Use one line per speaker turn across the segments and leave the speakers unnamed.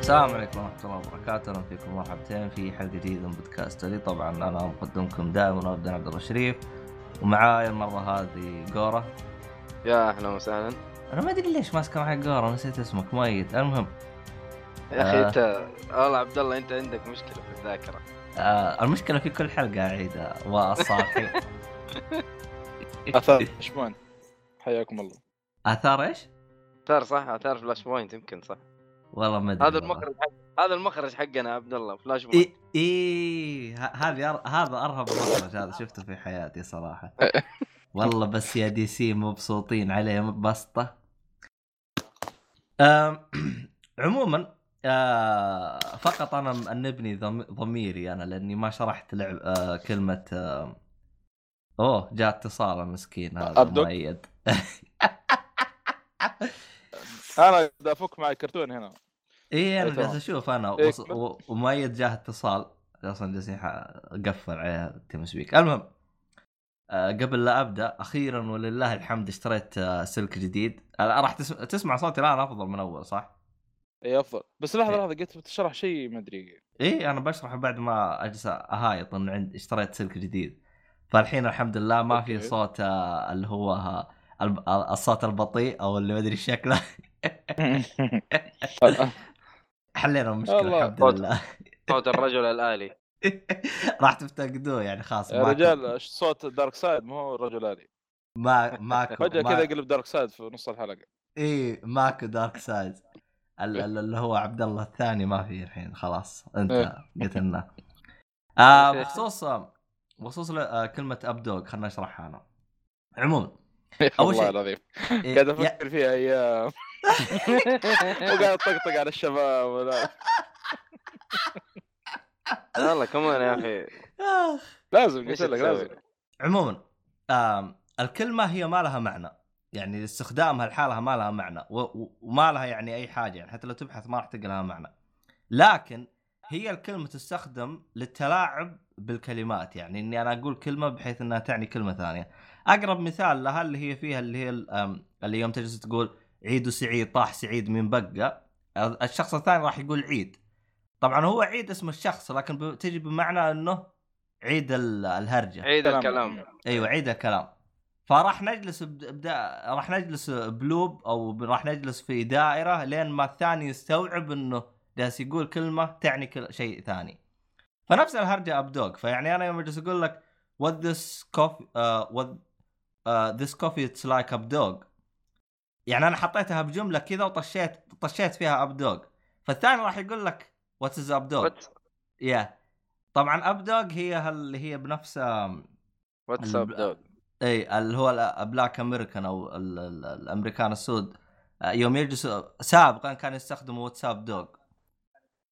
السلام عليكم ورحمة الله وبركاته، أهلا فيكم مرحبتين في حلقة جديدة من بودكاست لي طبعا أنا مقدمكم دائما أبدا عبد الله الشريف ومعاي المرة هذه جورة
يا اهلا وسهلا
أنا ما أدري ليش ماسكة معي جورة نسيت اسمك ميت المهم
يا اخي
آه.
انت والله عبد الله انت عندك مشكله في الذاكره
آه المشكلة في كل حلقة أعيدها وأصاحي
اثار شبان حياكم الله
آثار إيش؟
اثار صح اثار فلاش بوينت يمكن صح
والله ما أدري
آه.
هذا
والله.
المخرج حق- هذا المخرج حقنا يا عبد الله فلاش
إيه.
بوينت
إي إي ه- هذه أر- هذا أرهب مخرج هذا شفته في حياتي صراحة والله بس يا دي سي مبسوطين عليه بسطة أم، عموما آه، فقط انا مأنبني ضم- ضميري انا لاني ما شرحت لعب آه، كلمة آه، اوه جاء اتصال المسكين هذا
أبدو؟
مؤيد
انا بدي افك مع الكرتون هنا
اي انا
أيوة.
جالس اشوف انا
إيه،
وص- و- ومؤيد جاه اتصال اصلا جالسين ح- اقفل عليه تمسبيك المهم آه، قبل لا ابدا اخيرا ولله الحمد اشتريت آه، سلك جديد آه، راح تسم- تسمع صوتي الان افضل من اول صح؟
اي افضل بس لحظه لحظه قلت بتشرح شيء ما ادري
ايه انا بشرح بعد ما اجلس اهايط انه عند اشتريت سلك جديد فالحين الحمد لله ما في
أوكي.
صوت آه، اللي هو آه، الب- آه، الصوت البطيء او اللي ما ادري شكله حلينا المشكله
الله.
الحمد
صوت.
لله
صوت الرجل الالي
راح تفتقدوه يعني خلاص
يا
ما-
رجال ش- صوت دارك سايد ما هو الرجل الي
ما ماكو
فجاه
ما...
كذا يقلب دارك سايد في نص الحلقه
اي ماكو دارك سايد
إيه.
ال- ال- اللي هو عبد الله الثاني ما في الحين خلاص انت
إيه.
قتلناه آه بخصوص بخصوص ل- آه كلمه ابدوج خلنا اشرحها انا عموما أول شيء-
والله العظيم
إيه،
قاعد
يا-
افكر فيها ايام وقاعد اطقطق على الشباب ولا
والله كمان يا اخي
آخ.
لازم
إيش
قلت لك
تسوي؟
لازم
عموما آم، الكلمه هي ما لها معنى يعني استخدامها لحالها ما لها معنى و- و- وما لها يعني اي حاجه يعني حتى لو تبحث ما راح تلقى لها معنى لكن هي الكلمه تستخدم للتلاعب بالكلمات يعني اني انا اقول كلمه بحيث انها تعني كلمه ثانيه اقرب مثال لها اللي هي فيها اللي هي ال- أم، اللي يوم تجلس تقول عيد وسعيد طاح سعيد من بقى الشخص الثاني راح يقول عيد طبعا هو عيد اسم الشخص لكن ب- تجي بمعنى انه عيد ال- الهرجه
عيد الكلام
آه.
ايوه عيد الكلام فراح نجلس بد... بدا... راح نجلس بلوب او ب- راح نجلس في دائره لين ما الثاني يستوعب انه جالس يقول كلمه تعني كل... شيء ثاني فنفس الهرجه ابدوج فيعني انا يوم اجلس اقول لك what this coffee uh, what uh, this coffee it's like updog يعني انا حطيتها بجمله كذا وطشيت طشيت فيها updog فالثاني راح يقول لك what is updog يا طبعا updog هي هل... اللي هي بنفس آم،
واتساب دوغ
اي اللي هو البلاك امريكان او ال- ال- الامريكان السود آه، يوم يجلسوا سابقا كانوا يستخدموا واتساب دوغ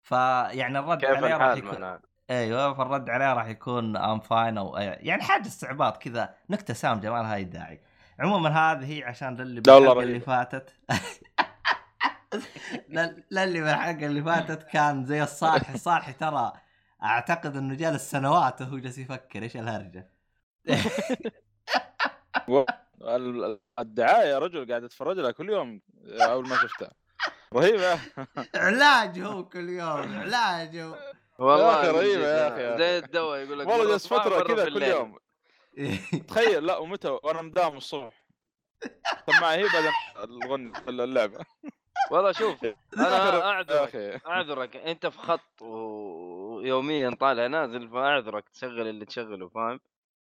فيعني يعني الرد
يعني
كيف
عليه راح
الحال
يكون
معناها
ايوه فالرد عليه راح يكون ام فاين او أي- يعني حاجه استعباط كذا نكته سامجه ما لها اي داعي عموما هذه هي عشان للي
لا
بالحلقة
والله رهيبة.
اللي فاتت لل- للي بالحلقه اللي فاتت كان زي الصالحي الصالحي ترى اعتقد انه جالس سنوات وهو جالس يفكر ايش الهرجه
ال- ال- الدعايه يا رجل قاعد اتفرج لها كل يوم اول ما شفتها رهيبه
علاج هو كل يوم علاج هو
والله
أخي
من
رهيبة يا
جد،
أخي.
زي الدواء يقول لك
والله
مرة
جالس
الصباح،
فتره
مرة
كذا كل
بالليل.
يوم تخيل لا ومتى وانا مداوم الصبح سماعه هي بعدين الغن اللعبه
والله شوف انا
يا
اعذرك
اخي
اعذرك انت في خط و- ويوميا طالع نازل فاعذرك تشغل اللي تشغله فاهم؟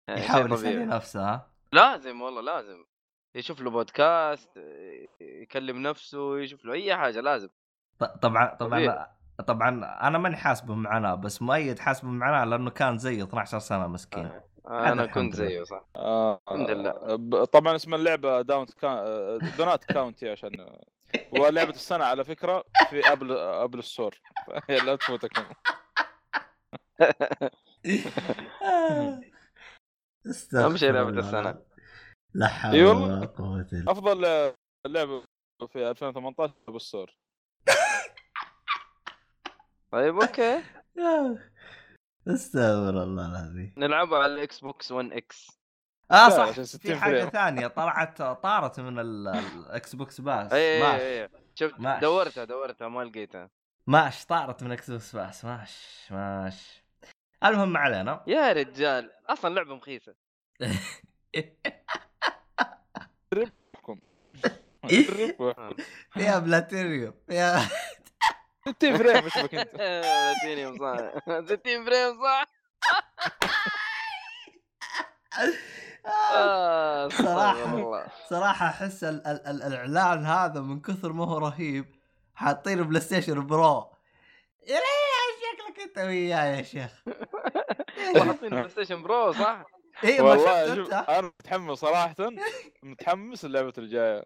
يعني شيء
يحاول
طبيعي.
يسلي نفسه ها
لازم والله لازم يشوف له بودكاست ي- يكلم نفسه يشوف له اي حاجه لازم
ط- طبعا طبعا
طبيعي.
طبعا انا ماني حاسبه معاناه بس مؤيد حاسبه معاناه لانه كان زي 12 سنه مسكين
انا
الحمد
كنت
لله.
زيه صح
آه،
الحمد لله.
ب- طبعا اسم اللعبه داونت كا... آه، دونات كاونتي عشان ولعبه السنه على فكره في ابل ابل ستور لا تفوتك
استغفر
آه. أهم شيء لعبة
الله.
السنة. أيوه.
لا حول
إي والله.
ولا قوه الا
افضل لعبه في 2018 ابل ستور
طيب اوكي
بالله استغفر الله العظيم
نلعبها على الاكس بوكس 1 اكس
اه
لا،
صح
عشان
في
60
حاجه
فريم.
ثانيه طلعت طارت من ال- الاكس بوكس باس
اي
ما
اي اي إيه، شفت
ماشي.
دورتها دورتها ما لقيتها
ماش طارت من اكسبوس باس ماش ماش المهم ما علينا
يا رجال اصلا لعبه مخيسه
إيه؟ يا بلاتيريوم يا
60 فريم اشبك انت
آه، 60 يوم صح 60 فريم صح آه،
صراحة.
استغفر الله
صراحه احس ال- ال- ال- الاعلان هذا من كثر ما هو رهيب حاطين بلاي ستيشن برو يا ليه شكلك انت وياه يا شيخ
حاطين بلاي ستيشن برو صح؟
اي إيه، ما
والله
شفت
شوف
انت
انا متحمس صراحه متحمس اللعبة الجايه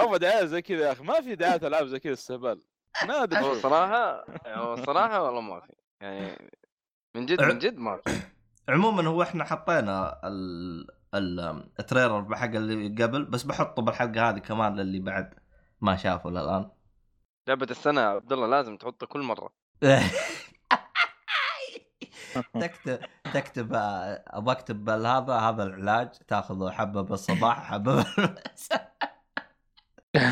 اما دعايه زي كذا يا اخي ما في دعايه العاب زي كذا استهبال نادر
هو الصراحه هو الصراحه والله ما في يعني من جد من جد ما في
عموما هو احنا حطينا ال ال- التريلر بحق اللي قبل بس بحطه بالحلقه هذه كمان للي بعد ما شافه للان
لعبه السنه يا عبد الله لازم تحطه كل مره
تكتب تكتب ابغى اكتب هذا هذا العلاج تاخذه حبه بالصباح حبه بالمساء لا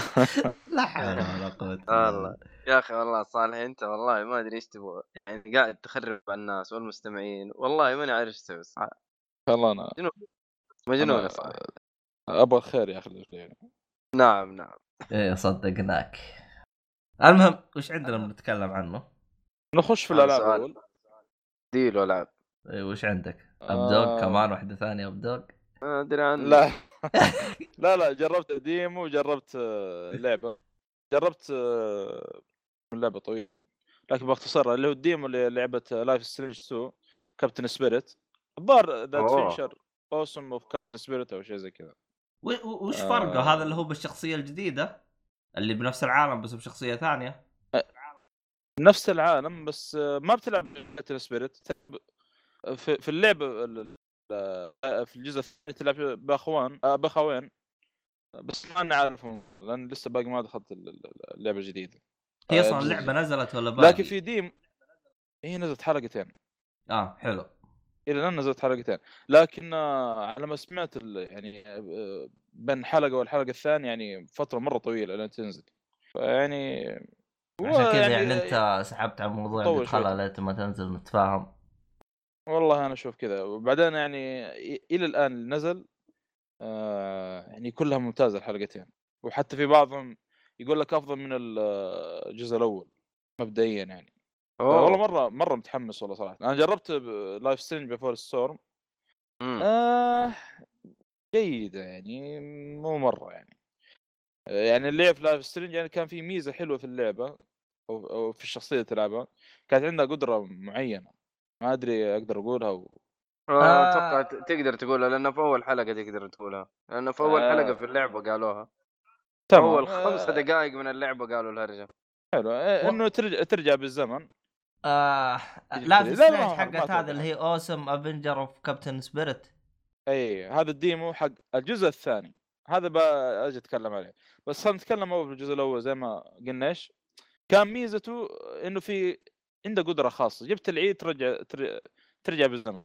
حول ولا قوه إلا
الله. يا اخي والله صالح انت والله ما ادري ايش تبغى يعني قاعد تخرب على الناس والمستمعين والله ماني عارف ايش تسوي صح
والله انا
مجنون يا
أنا-
صالح
ابغى الخير يا اخي للجميع.
نعم نعم
ايه صدقناك المهم وش عندنا
أه.
بنتكلم عنه؟
نخش في
هذا
الالعاب
سؤال.
اول
ديل العاب
إيه وش عندك؟
آه،
ابدوق
أه.
كمان واحده ثانيه ابدوق
ما ادري عن
لا لا لا جربت قديم وجربت آه، لعبه جربت آه، لعبه طويله لكن باختصار اللي هو الديمو اللي لعبه لايف سترينج 2 كابتن سبيريت الظاهر ذا
أوه.
فينشر اوسم اوف كابتن سبيريت او شيء زي كذا
و- و- وش
آه.
فرقه هذا اللي هو بالشخصيه الجديده اللي بنفس العالم بس بشخصيه ثانيه
نفس العالم بس آه، ما بتلعب كابتن سبيريت في في اللعبه ال- ال- آه، في الجزء الثاني تلعب باخوان آه، باخوين بس ما نعرفهم لان لسه باقي ما دخلت ال- ال- اللعبه الجديده
هي
آه،
اصلا
الجزء
اللعبه نزلت ولا باقي؟
لكن في ديم هي نزلت حلقتين
اه حلو
الى الان نزلت حلقتين لكن آه، على ما سمعت ال- يعني آه، بين حلقه والحلقه الثانيه يعني فتره مره طويله لين تنزل يعني، فيعني
عشان كذا
و-
يعني انت سحبت على الموضوع
طول
قلت خلاص
شوي.
ليت ما تنزل نتفاهم
والله انا اشوف كذا وبعدين يعني ي- الى الان اللي نزل آه، يعني كلها ممتازه الحلقتين وحتى في بعضهم يقول لك افضل من ال- آه، الجزء الاول مبدئيا يعني
أوه.
والله مره مره متحمس والله صراحه انا جربت لايف سترينج بيفور ستورم
مم.
آه جيدة يعني مو مرة يعني آه، يعني اللعب في لايف سترينج يعني كان في ميزة حلوة في اللعبة أو, أو في الشخصية اللي تلعبها كانت عندها قدرة معينة ما أدري أقدر أقولها و...
آه، اتوقع ت- تقدر تقولها لانه في اول حلقه تقدر تقولها لانه في اول
آه.
حلقه في اللعبه قالوها
تمام
اول
آه،
خمس دقائق من اللعبه قالوا الهرجه
حلو آه، إنه ترجع ترجع بالزمن
آه
يجي
لا
كذا.
في
لا، لا،
سنيش
ما- ما
حقت
أتوقع.
هذا اللي هي اوسم افنجر اوف كابتن سبيريت
أي هذا الديمو حق الجزء الثاني هذا بأجي أتكلم عليه بس خلينا نتكلم أول في الجزء الأول زي ما قلنا إيش كان ميزته إنه في عنده قدرة خاصة جبت العيد ترجع تر- ترجع بالزمن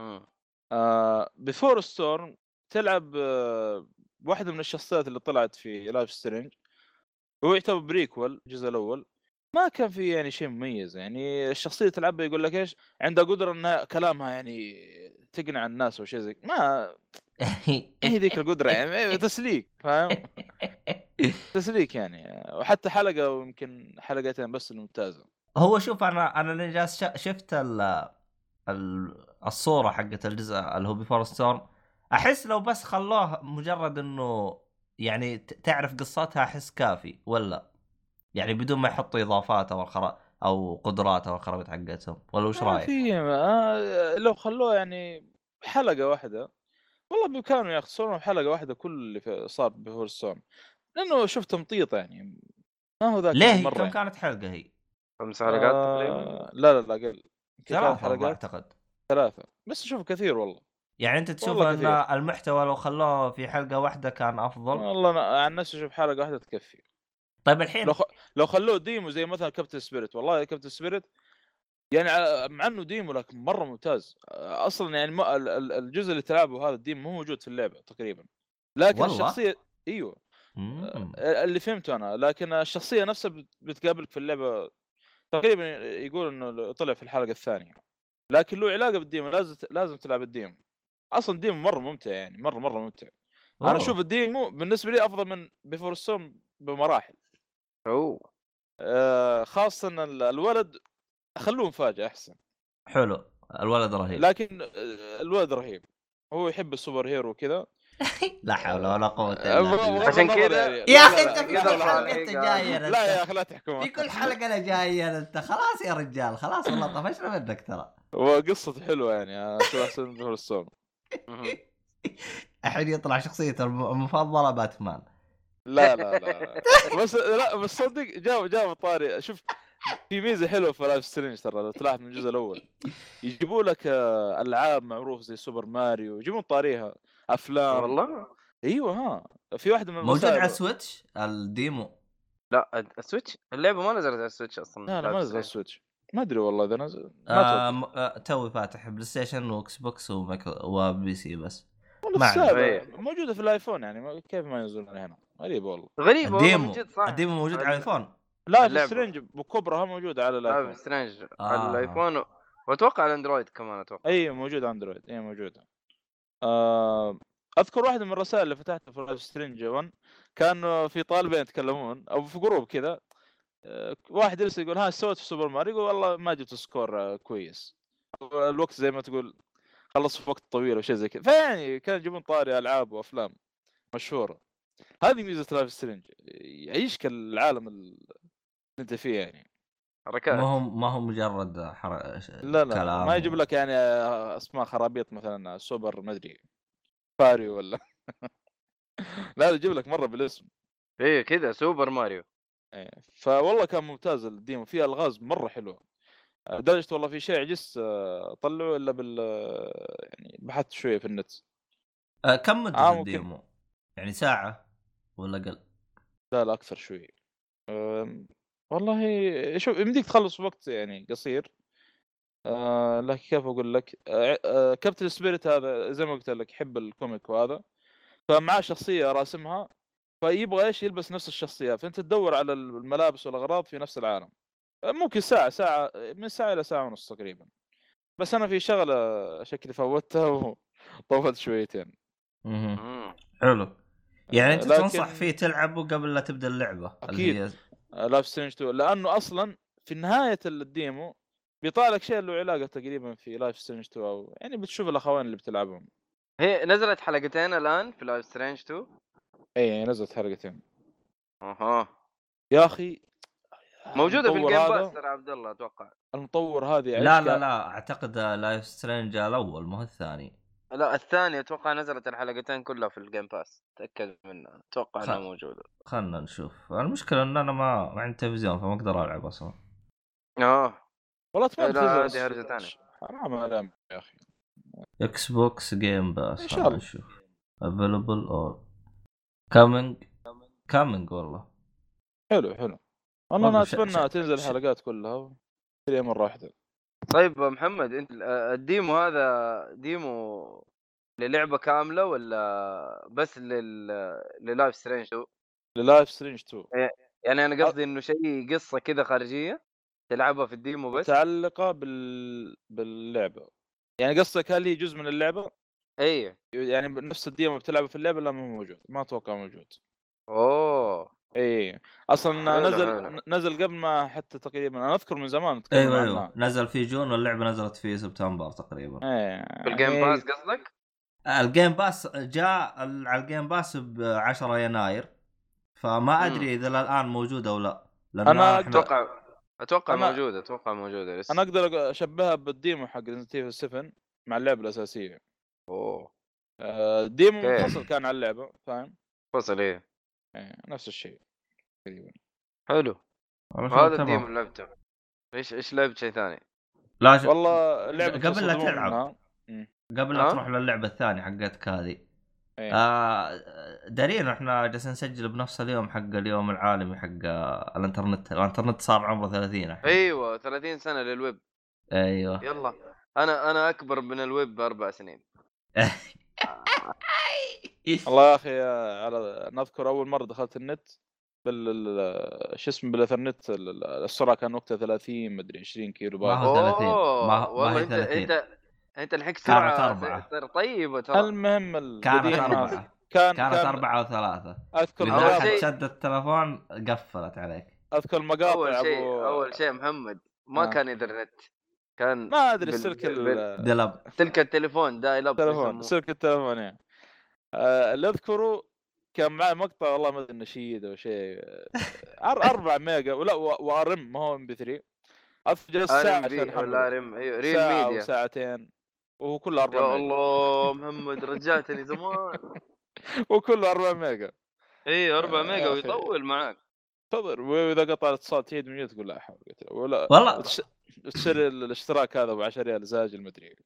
مم.
آه بفور ستورم تلعب آه واحدة من الشخصيات اللي طلعت في لايف سترينج هو يعتبر بريكول الجزء الأول ما كان في يعني شيء مميز يعني الشخصية اللي تلعبها يقول لك ايش عندها قدرة انها كلامها يعني تقنع الناس او شيء زي ما ما هي ذيك القدرة يعني تسليك فاهم تسليك يعني وحتى حلقة ويمكن حلقتين بس الممتازة
هو شوف انا انا اللي جالس ش- شفت ال ال- الصوره حقت الجزء اللي هو بيفور ستورم احس لو بس خلوه مجرد انه يعني ت- تعرف قصتها احس كافي ولا يعني بدون ما يحطوا اضافات او الخرا او قدرات او الخرابيط حقتهم ولا وش
ما
رايك؟
آه، في ما- لو خلوه يعني حلقه واحده والله بامكانه يختصرون حلقه واحده كل اللي في- صار بفور ستورم لانه شوف تمطيط يعني ما هو ذاك
ليه
المرة
كم
يعني.
كانت حلقه هي؟
خمس حلقات تقريبا
آه لا لا لا اقل ثلاث
ثلاث والله
حلقات
اعتقد
ثلاثه بس اشوف كثير والله
يعني انت تشوف
والله
ان
كثير.
المحتوى لو خلوه في حلقه واحده كان افضل
والله انا عن نفسي اشوف حلقه واحده تكفي
طيب الحين
لو خ... لو خلوه ديمو زي مثلا كابتن سبيريت والله كابتن سبيريت يعني ع- مع انه ديمو لكن مره ممتاز اصلا يعني ما ال- ال- الجزء اللي تلعبه هذا الديمو مو موجود في اللعبه تقريبا لكن
والله؟
الشخصيه ايوه
مم.
اللي فهمته انا لكن الشخصيه نفسها بت- بتقابلك في اللعبه تقريبا يقول انه طلع في الحلقه الثانيه لكن له علاقه بالديم لازم لازم تلعب الديم اصلا الديم مره ممتع يعني مره مره ممتع انا
أوه.
اشوف الديمو بالنسبه لي افضل من بيفور ستورم بمراحل
اوه
آه، خاصه ال- الولد خلوه مفاجاه احسن
حلو الولد رهيب
لكن آه، الولد رهيب هو يحب السوبر هيرو وكذا
لا حول ولا قوه الا
آه، بغض
بالله
عشان
النظر
كذا-
يعني.
يا
لا،
اخي
لا،
انت في
لا،
كل
لا،
حلقه
لا،
انت
لا.
جاير
لا يا
أنت.
اخي لا تحكم
في كل حلقه انا جاير انت خلاص يا رجال خلاص والله طفشنا منك ترى
وقصته حلوه يعني أشوف احسن من بيفور ستورم
مهم.
الحين يطلع شخصيته الم- المفضله باتمان
لا لا لا بس لا بس صدق جاب جاب طاري شوف في ميزه حلوه في لايف سترينج ترى لو تلاحظ من الجزء الاول يجيبوا لك آه، العاب معروف زي سوبر ماريو يجيبون طاريها افلام
إيه، والله
ايوه ها في واحده من
موجود
المسائل-
على السويتش الديمو
لا السويتش اللعبه ما نزلت على السويتش اصلا
لا لا ما نزل على السويتش ما ادري والله اذا نزل ما
آه م- آه توي فاتح بلاي ستيشن واكس بوكس ومايكرو- وبي سي بس ما
والله
أعرف.
السابع موجوده في الايفون يعني ما- كيف ما ينزلون هنا غريب والله
غريبه والله من
الديمو
جد صح
الديمو موجود على الايفون
لايف
اللعبة.
سترينج بكبرها موجوده على
لايف
الايفون
سترينج
آه.
على الايفون و- واتوقع على الاندرويد كمان اتوقع
اي موجود اندرويد اي موجوده آه، اذكر واحده من الرسائل اللي فتحتها في لايف سترينج 1 كانوا في طالبين يتكلمون او في جروب كذا آه، واحد يرسل يقول ها إيش سويت في سوبر ماريو يقول والله ما جبت سكور آه، كويس الوقت زي ما تقول خلص في وقت طويل او شيء زي كذا فيعني كانوا يجيبون طاري العاب وافلام مشهوره هذه ميزه لايف سترينج يعيشك العالم اللي انت فيه يعني
ما
حركات
هو ما هو مجرد حر... ش-
لا لا
كلام
ما يجيب لك يعني آه، اسماء خرابيط مثلا سوبر ما ادري فاري ولا لا يجيب لك مره بالاسم
ايه كذا سوبر ماريو
إيه. فوالله كان ممتاز الديمو فيه الغاز مره حلوه لدرجه آه، والله في شيء عجزت آه، اطلعه الا بال آه، يعني بحثت شويه في النت
آه كم مدة
آه،
آه
ممكن.
الديمو؟ يعني ساعة ولا اقل؟
لا لا اكثر شويه أم، آمم، والله شوف يمديك تخلص في وقت يعني قصير أه لكن كيف اقول لك أه أه كابتن سبيريت هذا زي ما قلت لك يحب الكوميك وهذا فمعاه شخصيه راسمها فيبغى ايش يلبس نفس الشخصيه فانت تدور على الملابس والاغراض في نفس العالم أه، ممكن ساعه ساعه من ساعه الى ساعه ونص تقريبا بس انا في شغله شكلي فوتها وطولت شويتين
مهم.
مم.
حلو يعني انت
آه، لكن-
تنصح فيه تلعبه قبل لا تبدا اللعبه اللي هي
لايف سترينج 2 لانه اصلا في نهايه الديمو بيطلع لك شيء له علاقه تقريبا في لايف سترينج 2 او يعني بتشوف الاخوين اللي بتلعبهم
هي نزلت حلقتين الان في لايف سترينج 2
اي إيه، يعني نزلت حلقتين
اها
يا اخي
موجوده في
المطور
الجيم
آه، هذا-
باس ترى عبد الله اتوقع
المطور هذه
لا لا لا اعتقد لايف سترينج الاول ما هو الثاني
لا الثانيه اتوقع نزلت الحلقتين كلها في الجيم باس تاكد منها اتوقع انها
خ-
موجوده
خلنا نشوف المشكله ان انا ما ما عندي تلفزيون فما اقدر العب اصلا
اه
والله اتمنى
لا،
تنزل
هذه
بس-
هرجة تانية.
حرام عليهم يا اخي
اكس بوكس جيم باس
إن شاء الله.
نشوف افيلبل اور كامينج كامينج والله
حلو حلو والله
والله
انا
ش-
اتمنى
ش-
تنزل
ش-
الحلقات كلها تشتريها مره واحده
طيب محمد انت آه، الديمو هذا ديمو للعبه كامله ولا بس لل للايف سترينج 2
للايف سترينج 2
يعني انا قصدي انه شيء قصه كذا خارجيه تلعبها في الديمو بس
متعلقه بال... باللعبه يعني قصدك هل هي جزء من اللعبه؟
اي
يعني نفس الديمو بتلعبه في اللعبه لا ما هو موجود ما اتوقع موجود
اوه
اي اصلا
حلو،
نزل
حلو.
نزل قبل ما حتى تقريبا انا اذكر من زمان نتكلم
ايوه
عنها
ايوه نزل في جون واللعبه نزلت في سبتمبر تقريبا
ايوه
في الجيم باس قصدك؟
الجيم باس آه، جاء ال- على الجيم باس ب 10 يناير فما ادري اذا الان موجود او لا لان
أنا
إحنا-
اتوقع اتوقع
أنا-
موجوده اتوقع موجوده لسه
انا اقدر اشبهها بالديمو حق ريزنت 7 مع اللعبه الاساسيه
اوه
آه، الديمو
أوكي.
منفصل كان على اللعبه فاهم؟
فصل ايه
إيه، نفس الشيء تقريبا
حلو
والله شغل
هذا
تمام.
الديمو اللي لعبته ايش ايش لعبت شيء ثاني؟
لا ش...
والله لعبه
أه، قبل لا
تصدمون
تلعب.
منها.
قبل
ها؟
لا تروح للعبه الثانيه حقتك هذه
إيه.
آه دارين احنا جالسين نسجل بنفس اليوم حق اليوم العالمي حق آه، الانترنت الانترنت صار عمره 30 الحين
إيه.
ايوه 30 سنه للويب
ايوه
يلا انا انا اكبر من الويب باربع سنين
والله يا اخي على أنا اذكر اول مره دخلت النت بال ال- آه، شو اسمه بالانترنت ال- ال- السرعه كان وقتها 30 مدري 20 كيلو
ما
بايت
هو 30.
أوه،
ما- ما
والله
هي
انت
30.
انت انت الحين
كانت
سرعه
أربعة.
ت- طيبه ترى
المهم ال-
كانت
القديم هذا.
اربعه
كان
كانت
كان
اربعه وثلاثه
اذكر
لان
أول
احد
شيء-
مقاطع
شد التلفون قفلت عليك
اذكر مقاطع
اول شيء
أبو-
اول شيء محمد ما
آه.
كان انترنت كان
ما ادري
بال-
السلك
بال-
ال-
دلب
تلك التليفون دايل اب
التلفون
يسموه.
سلك التلفون يعني آه، اللي اذكره كان معي مقطع والله ما ادري نشيد او شيء آه، أر- أربعة ميجا ولا وارم ما هو ام بي 3 اذكر جلست
ار
ساعه
ام
عشان
بي
أحمله.
ولا ار ام ايوه ريل
ساعة
ميديا
وساعتين وكله
يا
4 ميجا
الله محمد رجعتني زمان
وكله 4 ميجا
اي 4 ميجا
أخي.
ويطول معاك
تنتظر واذا قطع الاتصال تعيد من جديد تقول لا حول ولا قوة ولا
آه.
والله
وتش- وتشتري ال- الاشتراك هذا ب 10 ريال زاجل مدري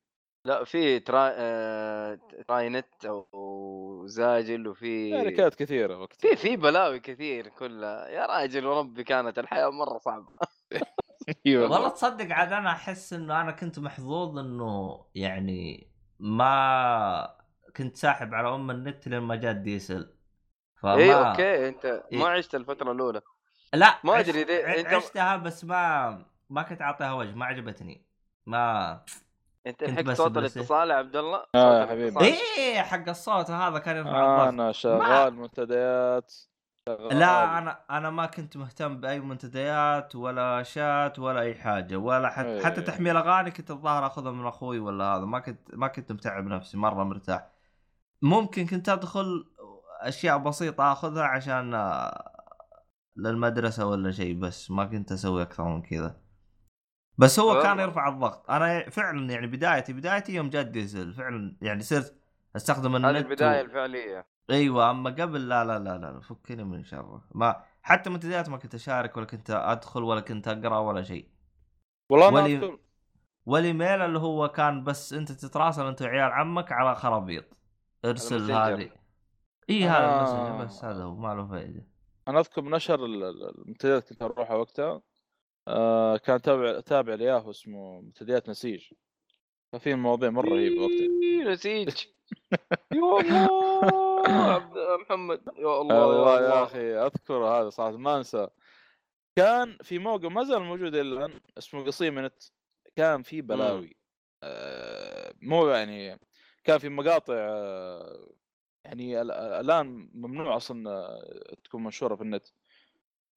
لا في ترا... آه... تراي نت او زاجل وفي
شركات كثيره وقتها
في في بلاوي كثير كلها يا راجل وربي كانت الحياه مره صعبه
إي
والله تصدق عاد انا احس انه انا كنت محظوظ انه يعني ما كنت ساحب على ام النت لين ما جاء الديسل فما
اي اوكي انت
إي.
إيه، ما عشت الفتره الاولى
لا
ما
عشت-
أدري إذا
ع-
أنت-
عشتها بس ما ما كنت اعطيها وجه ما عجبتني ما
انت
كنت
لحقت
بس إيه.
صوت
بلاي ستيشن.
الاتصال يا عبد الله
آه يا
صوت
حبيبي.
الاتصال.
ايه حق الصوت هذا كان يرفع الضغط
انا شغال منتديات شغال-
لا انا انا ما كنت مهتم باي منتديات ولا شات ولا اي حاجه ولا حتى
إيه.
حتى تحميل اغاني كنت الظاهر اخذها من اخوي ولا هذا ما كنت ما كنت متعب نفسي مره مرتاح ممكن كنت ادخل اشياء بسيطه اخذها عشان آه، للمدرسه ولا شيء بس ما كنت اسوي اكثر من كذا بس هو كان
والله.
يرفع الضغط انا فعلا يعني بدايتي بدايتي يوم جاء الديزل فعلا يعني صرت استخدم النت
هذه
و-
البدايه الفعليه
ايوه اما قبل لا لا لا لا فكني من شره ما حتى منتديات ما كنت اشارك ولا كنت ادخل ولا كنت اقرا ولا شيء
والله انا
ولي-
أذكر-
والايميل اللي هو كان بس انت تتراسل انت وعيال عمك على خرابيط ارسل
الماسنجر.
هذه اي هذا
آه.
المسج بس هذا هو ما له فائده
انا اذكر نشر ال- ال- المنتديات كنت اروحها وقتها آه كان تابع تابع لياهو اسمه منتديات نسيج كان في مواضيع مره رهيبه طيب، وقتها
إيه، نسيج يا الله عبد محمد يا الله
آه، والله يا اخي اذكر هذا صراحه ما انسى كان في موقع ما زال موجود الى الان اسمه قصيم نت كان في بلاوي آه، مو يعني كان في مقاطع آه، يعني ال- ال- الان ممنوع اصلا آه، تكون منشوره في النت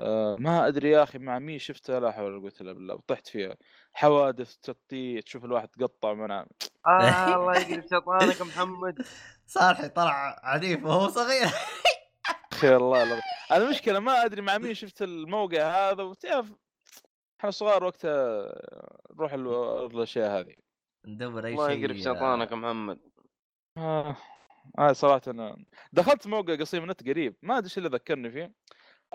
آه، ما ادري يا اخي مع مين شفتها لا حول ولا قوه الا بالله طحت فيها حوادث تقطيع تشوف الواحد تقطع منع
آه الله يقلب شيطانك محمد
صالحي طلع عنيف وهو صغير
خير الله لا. انا المشكله ما ادري مع مين شفت الموقع هذا وتعرف احنا صغار وقتها نروح ال- الاشياء هذه
ندور اي شيء
الله يقلب شيطانك محمد
آه. آه صراحه انا دخلت موقع قصيم نت قريب ما ادري ايش اللي ذكرني فيه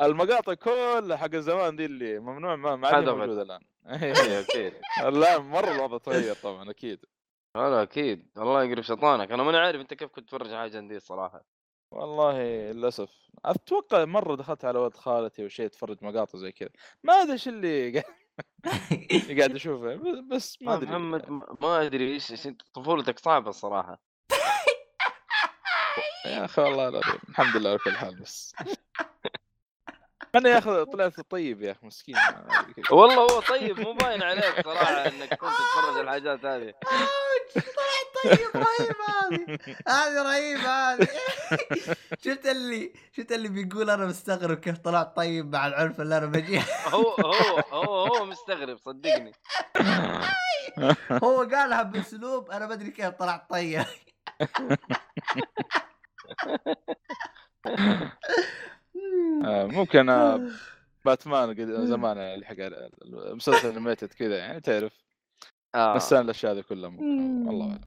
المقاطع كلها حق زمان دي اللي ممنوع ما ما عاد
حذفت.
موجوده الان
إيه، اكيد
الان مره الوضع تغير طبعا اكيد
هلا اكيد الله يقلب شيطانك انا ماني عارف انت كيف كنت تفرج حاجه عن دي الصراحه
والله للاسف اتوقع مره دخلت على ولد خالتي وشيء اتفرج مقاطع زي كذا ما ادري ايش اللي قاعد-
آه.
قاعد اشوفه بس- بس ما
ما
ادري
محمد ما- ما ادري ايش إيش انت طفولتك صعبه الصراحه
يا اخي والله العظيم الحمد لله على كل حال بس انا يا اخي طلعت طيب يا اخي مسكين
والله هو طيب مو باين عليك صراحه انك كنت تتفرج على الحاجات هذه
طلعت طيب رهيبه هذه هذه رهيبه هذه شفت اللي شفت اللي بيقول انا مستغرب كيف طلعت طيب مع العنف اللي انا بجيه
هو هو هو هو مستغرب صدقني
هو قالها باسلوب انا ما ادري كيف طلعت طيب
آه، ممكن آه، باتمان قد- زمان يعني لحق على المسلسل انيميتد كذا يعني تعرف
آه.
نسان الاشياء هذه كلها ممكن والله أعلم.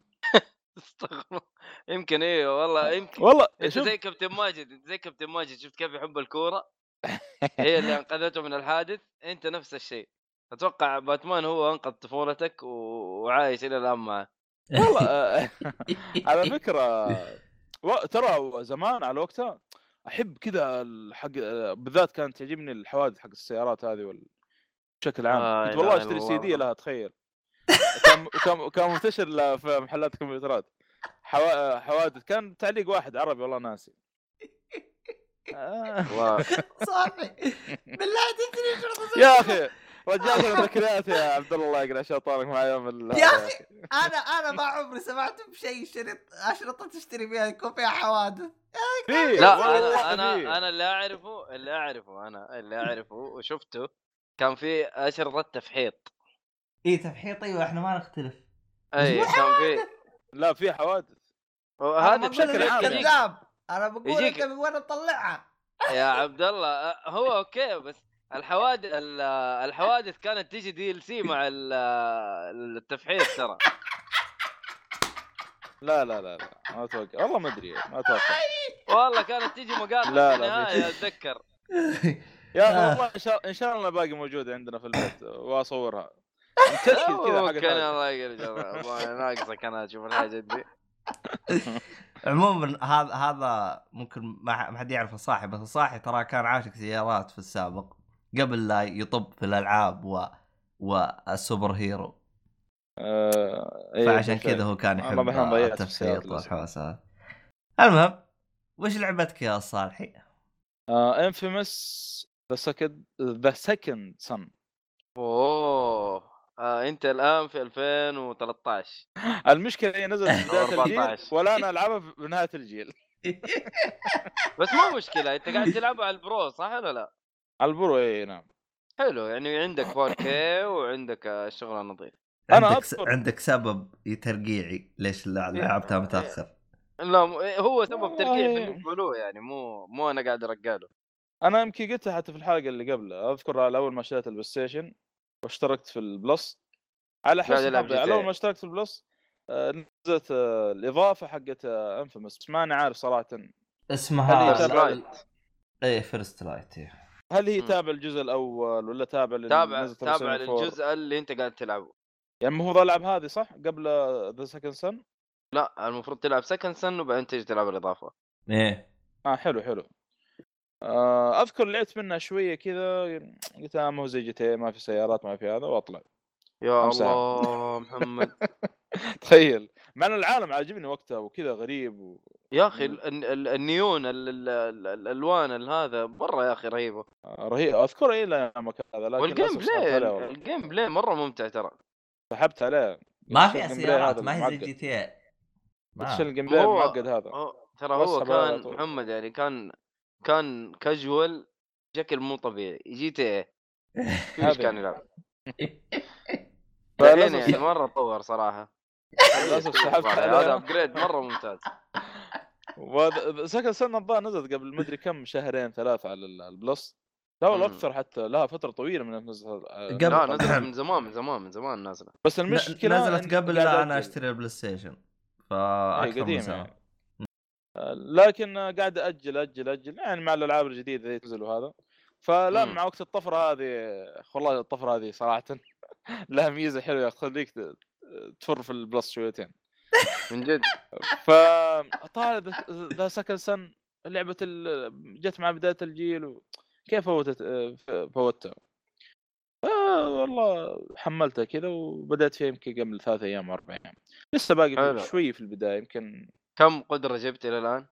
استغفر يمكن ايوه والله يمكن
والله
انت
شوف
زي كابتن ماجد انت زي كابتن ماجد شفت كيف يحب الكوره هي اللي انقذته من الحادث انت نفس الشيء اتوقع باتمان هو انقذ طفولتك و... وعايش الى الان معه
والله آه،
إيه.
على فكره و- ترى زمان على وقتها احب كذا الحق بالذات كانت تعجبني الحوادث حق السيارات هذه وال... بشكل عام
آه،
آه كنت
لا
والله
إله
اشتري
إلا
سي دي
الله.
لها تخيل كان كان كان منتشر لا في محلات الكمبيوترات حوا... حوادث كان تعليق واحد عربي والله ناسي آه.
والله
صافي بالله تدري شو القصة؟
يا اخي رجعت الذكريات يا عبد الله يقرا شيطانك مع يوم ال-
يا أخي. انا انا ما عمري سمعت بشيء شريط اشرطه تشتري فيها يكون فيها حوادث
في
لا
والله
انا
في.
انا انا اللي اعرفه اللي اعرفه انا اللي اعرفه وشفته كان في اشرطه تفحيط
اي تفحيط ايوه احنا ما نختلف
اي
مش
كان في
لا في حوادث
هذا
بقول
بشكل
لك
عام يعني.
كذاب انا بقول
يجيك.
انت من وين تطلعها
يا عبد الله أه، هو اوكي بس الحوادث ال- الحوادث كانت تيجي دي ال سي مع ال- التفحيط ترى
لا لا لا لا ما اتوقع والله ما ادري ما اتوقع
والله كانت تيجي مقاطع
لا،
في
لا،
النهايه اتذكر
آه.
يا اخي والله ان شاء ان شاء الله باقي موجوده عندنا في البيت واصورها متسكل كذا حق
ممكن
الحاجة.
الله يرجع والله ناقصك انا اشوف الحاجه دي
عموما هذا هذا ممكن ما ما حد يعرف صاحي بس صاحي ترى كان عاشق سيارات في السابق قبل لا يطب في الالعاب و والسوبر هيرو
آه، إيه،
فعشان
بالفعل.
كذا هو كان
والله
يحب
بحنا ضيعت
التفسيط
السيارات للأسف.
والحواس هذه. المهم وش لعبتك يا صالحي؟
آه، انفيمس ذا سكند ذا سكند سن
اوه آه انت الان في 2013
المشكله هي نزلت في بدايه الجيل
14.
ولا انا العبها في نهايه الجيل
بس مو مشكله انت قاعد تلعبها على البرو صح ولا لا؟
البرو اي نعم
حلو يعني عندك 4K وعندك آه، الشغل نظيف
أنا إيه.
عندك س...
أذكر-
عندك سبب ترقيعي ليش لع- لعبتها متاخر
لا م- هو سبب ترقيع
والله.
بالنسبه له يعني مو مو انا قاعد ارقاله
انا يمكن قلتها حتى في الحلقه اللي قبلها اذكر على اول ما اشتريت البلاي ستيشن واشتركت في البلس على
قاعد
حسب
ألعب
إيه.
حظي، على اول
GTA.
ما اشتركت في البلس آه، نزلت آه، الاضافه حقت انفيمس بس ماني عارف صراحه
اسمها
First
ايه فيرست لايت إيه.
هل هي
مم.
تابع الجزل الاول ولا تابع لل-
تابع
نزلت
تابع
474.
للجزء اللي انت قاعد تلعبه
يعني المفروض العب هذه صح قبل ذا سكند سن
لا المفروض تلعب سكند سن وبعدين تيجي تلعب الاضافه
ايه
اه حلو حلو آه، اذكر لعبت منها شويه كذا قلت آه، ما هو زي جتي ما في سيارات ما في هذا واطلع
يا
كم ساعة؟
الله محمد
تخيل مع ان العالم عاجبني وقتها وكذا غريب و...
يا اخي
مم.
ال- ال- ال- النيون ال- ال- ال- الالوان ال- هذا مره يا اخي رهيبه
آه، رهيب اذكر اي لا مكان هذا لكن
والجيم
للأسف سحبت
بلاي
عليه والله.
الجيم بلاي مره ممتع ترى
سحبت عليه
ما
الجيم
فيها
بلاي
سيارات
هذا
ما هي زي
المعقد.
جي تي اي
ايش
ما.
الجيم بلاي
هو-
المعقد هذا
هو- ترى
آه. بس
هو
أبغى على
كان
طول.
محمد يعني كان كان كاجوال بشكل مو طبيعي جي تي اي ايش
هذه.
كان يلعب؟
فللأسف
بعدين يعني مره تطور صراحه
للاسف سحبت
هذا
عليه
ابجريد مره ممتاز
وذ- سكن سنة الظاهر نزلت قبل مدري كم شهرين ثلاثة على ال- البلس لا والله
مم.
اكثر حتى لها فترة طويلة من أن نزلت آه،
قبل- نعم.
لا
نزلت.
نزلت من زمان من زمان من زمان نازله
بس يعني المشكلة
نزلت
إن-
قبل
قاعد
لا انا
أجل.
اشتري البلاي ستيشن فاكثر من
قديمة
سنه
يعني. آه، لكن آه، قاعد اجل اجل اجل يعني مع الالعاب الجديده اللي تنزل وهذا فلا
مم.
مع وقت الطفره هذه والله الطفره هذه صراحه لها ميزه حلوه تخليك ت- تفر في البلس شويتين
من جد
فطالع ذا سكن سن لعبه ال- جت مع بدايه الجيل و... كيف فوتت آه، ف- فوتها آه، والله حملتها كذا وبدات فيها يمكن قبل ثلاث ايام اربع ايام لسه
حلو.
باقي شوي في البدايه يمكن
كم قدره جبت الى الان؟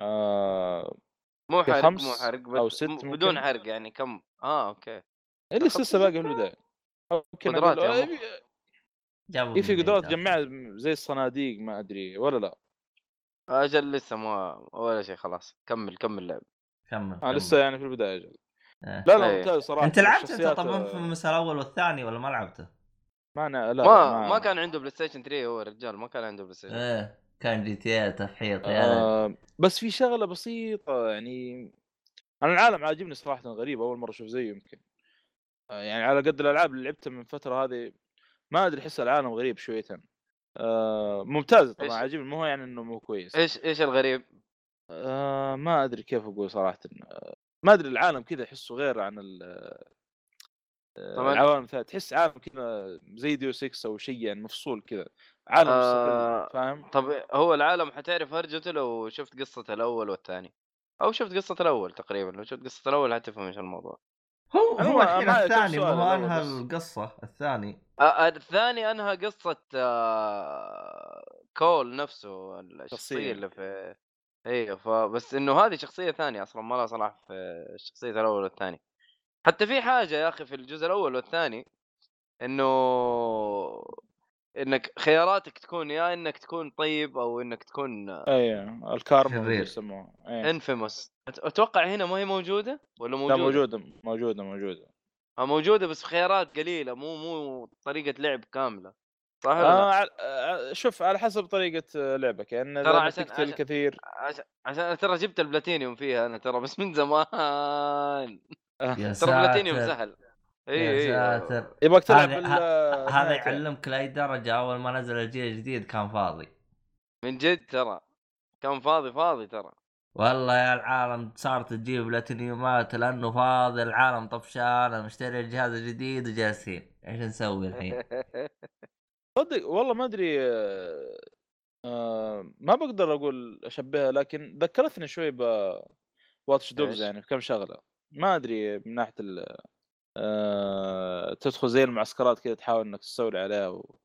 آه،
مو حرق
خمس
مو حرق بس
أو ست
م-
ممكن.
بدون حرق يعني كم اه اوكي
إيه لسه لسه باقي في البدايه ممكن
قدرات
أقول-
يا
إيه
مخ.
في-
جابوا
إيه في
من
قدرات
بعيد.
تجمع زي الصناديق ما ادري ولا لا
اجل لسه ما ولا شيء خلاص كمل كمل لعب
كمل
آه
كمل.
لسه يعني في البدايه جل.
إيه.
لا لا
إيه.
ممتاز صراحه
انت لعبت انت
الشخصيات،
طبعا في
آه،
المسار الاول والثاني ولا ما لعبته؟
ما آه. أنا لا
ما ما كان عنده بلاي ستيشن 3 هو الرجال ما كان عنده بلاي ستيشن
ايه كان جي تي اي تفحيط
يعني.
يا
إيه. آه بس في شغله بسيطه يعني انا العالم عاجبني صراحه غريب اول مره اشوف زيه يمكن آه يعني على قد الالعاب اللي لعبتها من فتره هذه ما ادري احس العالم غريب شويتين آه ممتاز طبعا
إيش-
عاجبني مو هو يعني انه مو كويس
ايش ايش الغريب؟
آه ما ادري كيف اقول صراحه آه ما ادري العالم كذا احسه غير عن ال آه،
طبعاً.
العوالم الثانيه تحس عالم كذا زي ديو 6 او شيء يعني مفصول كذا عالم
آه،
مستقل، فاهم
طب هو العالم حتعرف هرجته لو شفت قصة الأول والثاني أو شفت قصة الأول تقريبا لو شفت قصة الأول حتفهم ايش الموضوع
هو
أنا
هو
ما-
الحين
ما-
الثاني
سؤال
مو
الأول
انهى
بس.
القصه الثاني
آه، آه، الثاني أنهى قصة آه، كول نفسه الشخصيه
شخصية.
اللي في ايوه فبس انه هذه شخصيه ثانيه اصلا ما لها صلاح في الشخصيه الاول والثاني حتى في حاجه يا اخي في الجزء الاول والثاني انه انك خياراتك تكون يا انك تكون طيب او انك تكون
ايوه الكارما
شرير.
اللي يسموه
إيه،
أيوة.
انفيموس اتوقع هنا ما هي موجوده ولا
لا
موجوده؟
موجوده موجوده موجوده
آه، موجوده بس خيارات قليله مو مو طريقه لعب كامله صح ولا لا؟
آه على- آه، شوف على حسب طريقه آه، لعبك يعني
ترى
ترى
عشان-
تقتل
عشان-
كثير
عشان عشان أنا ترى جبت البلاتينيوم فيها انا ترى بس من زمان
آه.
يا
ترى بلاتينيوم
ساتر
سهل
إيه،
إيه،
يا
اي اي
ساتر
يبغاك تلعب
هذه-
بال- آه، يعني.
هذا
نهاية.
يعلمك لاي درجه اول ما نزل الجيل الجديد كان فاضي
من جد ترى كان فاضي فاضي ترى
والله يا العالم صارت تجيب بلاتينيومات لانه فاضي العالم طفشان مشتري الجهاز الجديد وجالسين ايش نسوي الحين؟
صدق والله ما ادري آه، آه، ما بقدر اقول اشبهها لكن ذكرتني شوي ب واتش
إيش؟
دوجز يعني في كم شغله ما ادري من ناحيه ال آه، تدخل زي المعسكرات كذا تحاول انك تستولي عليها و...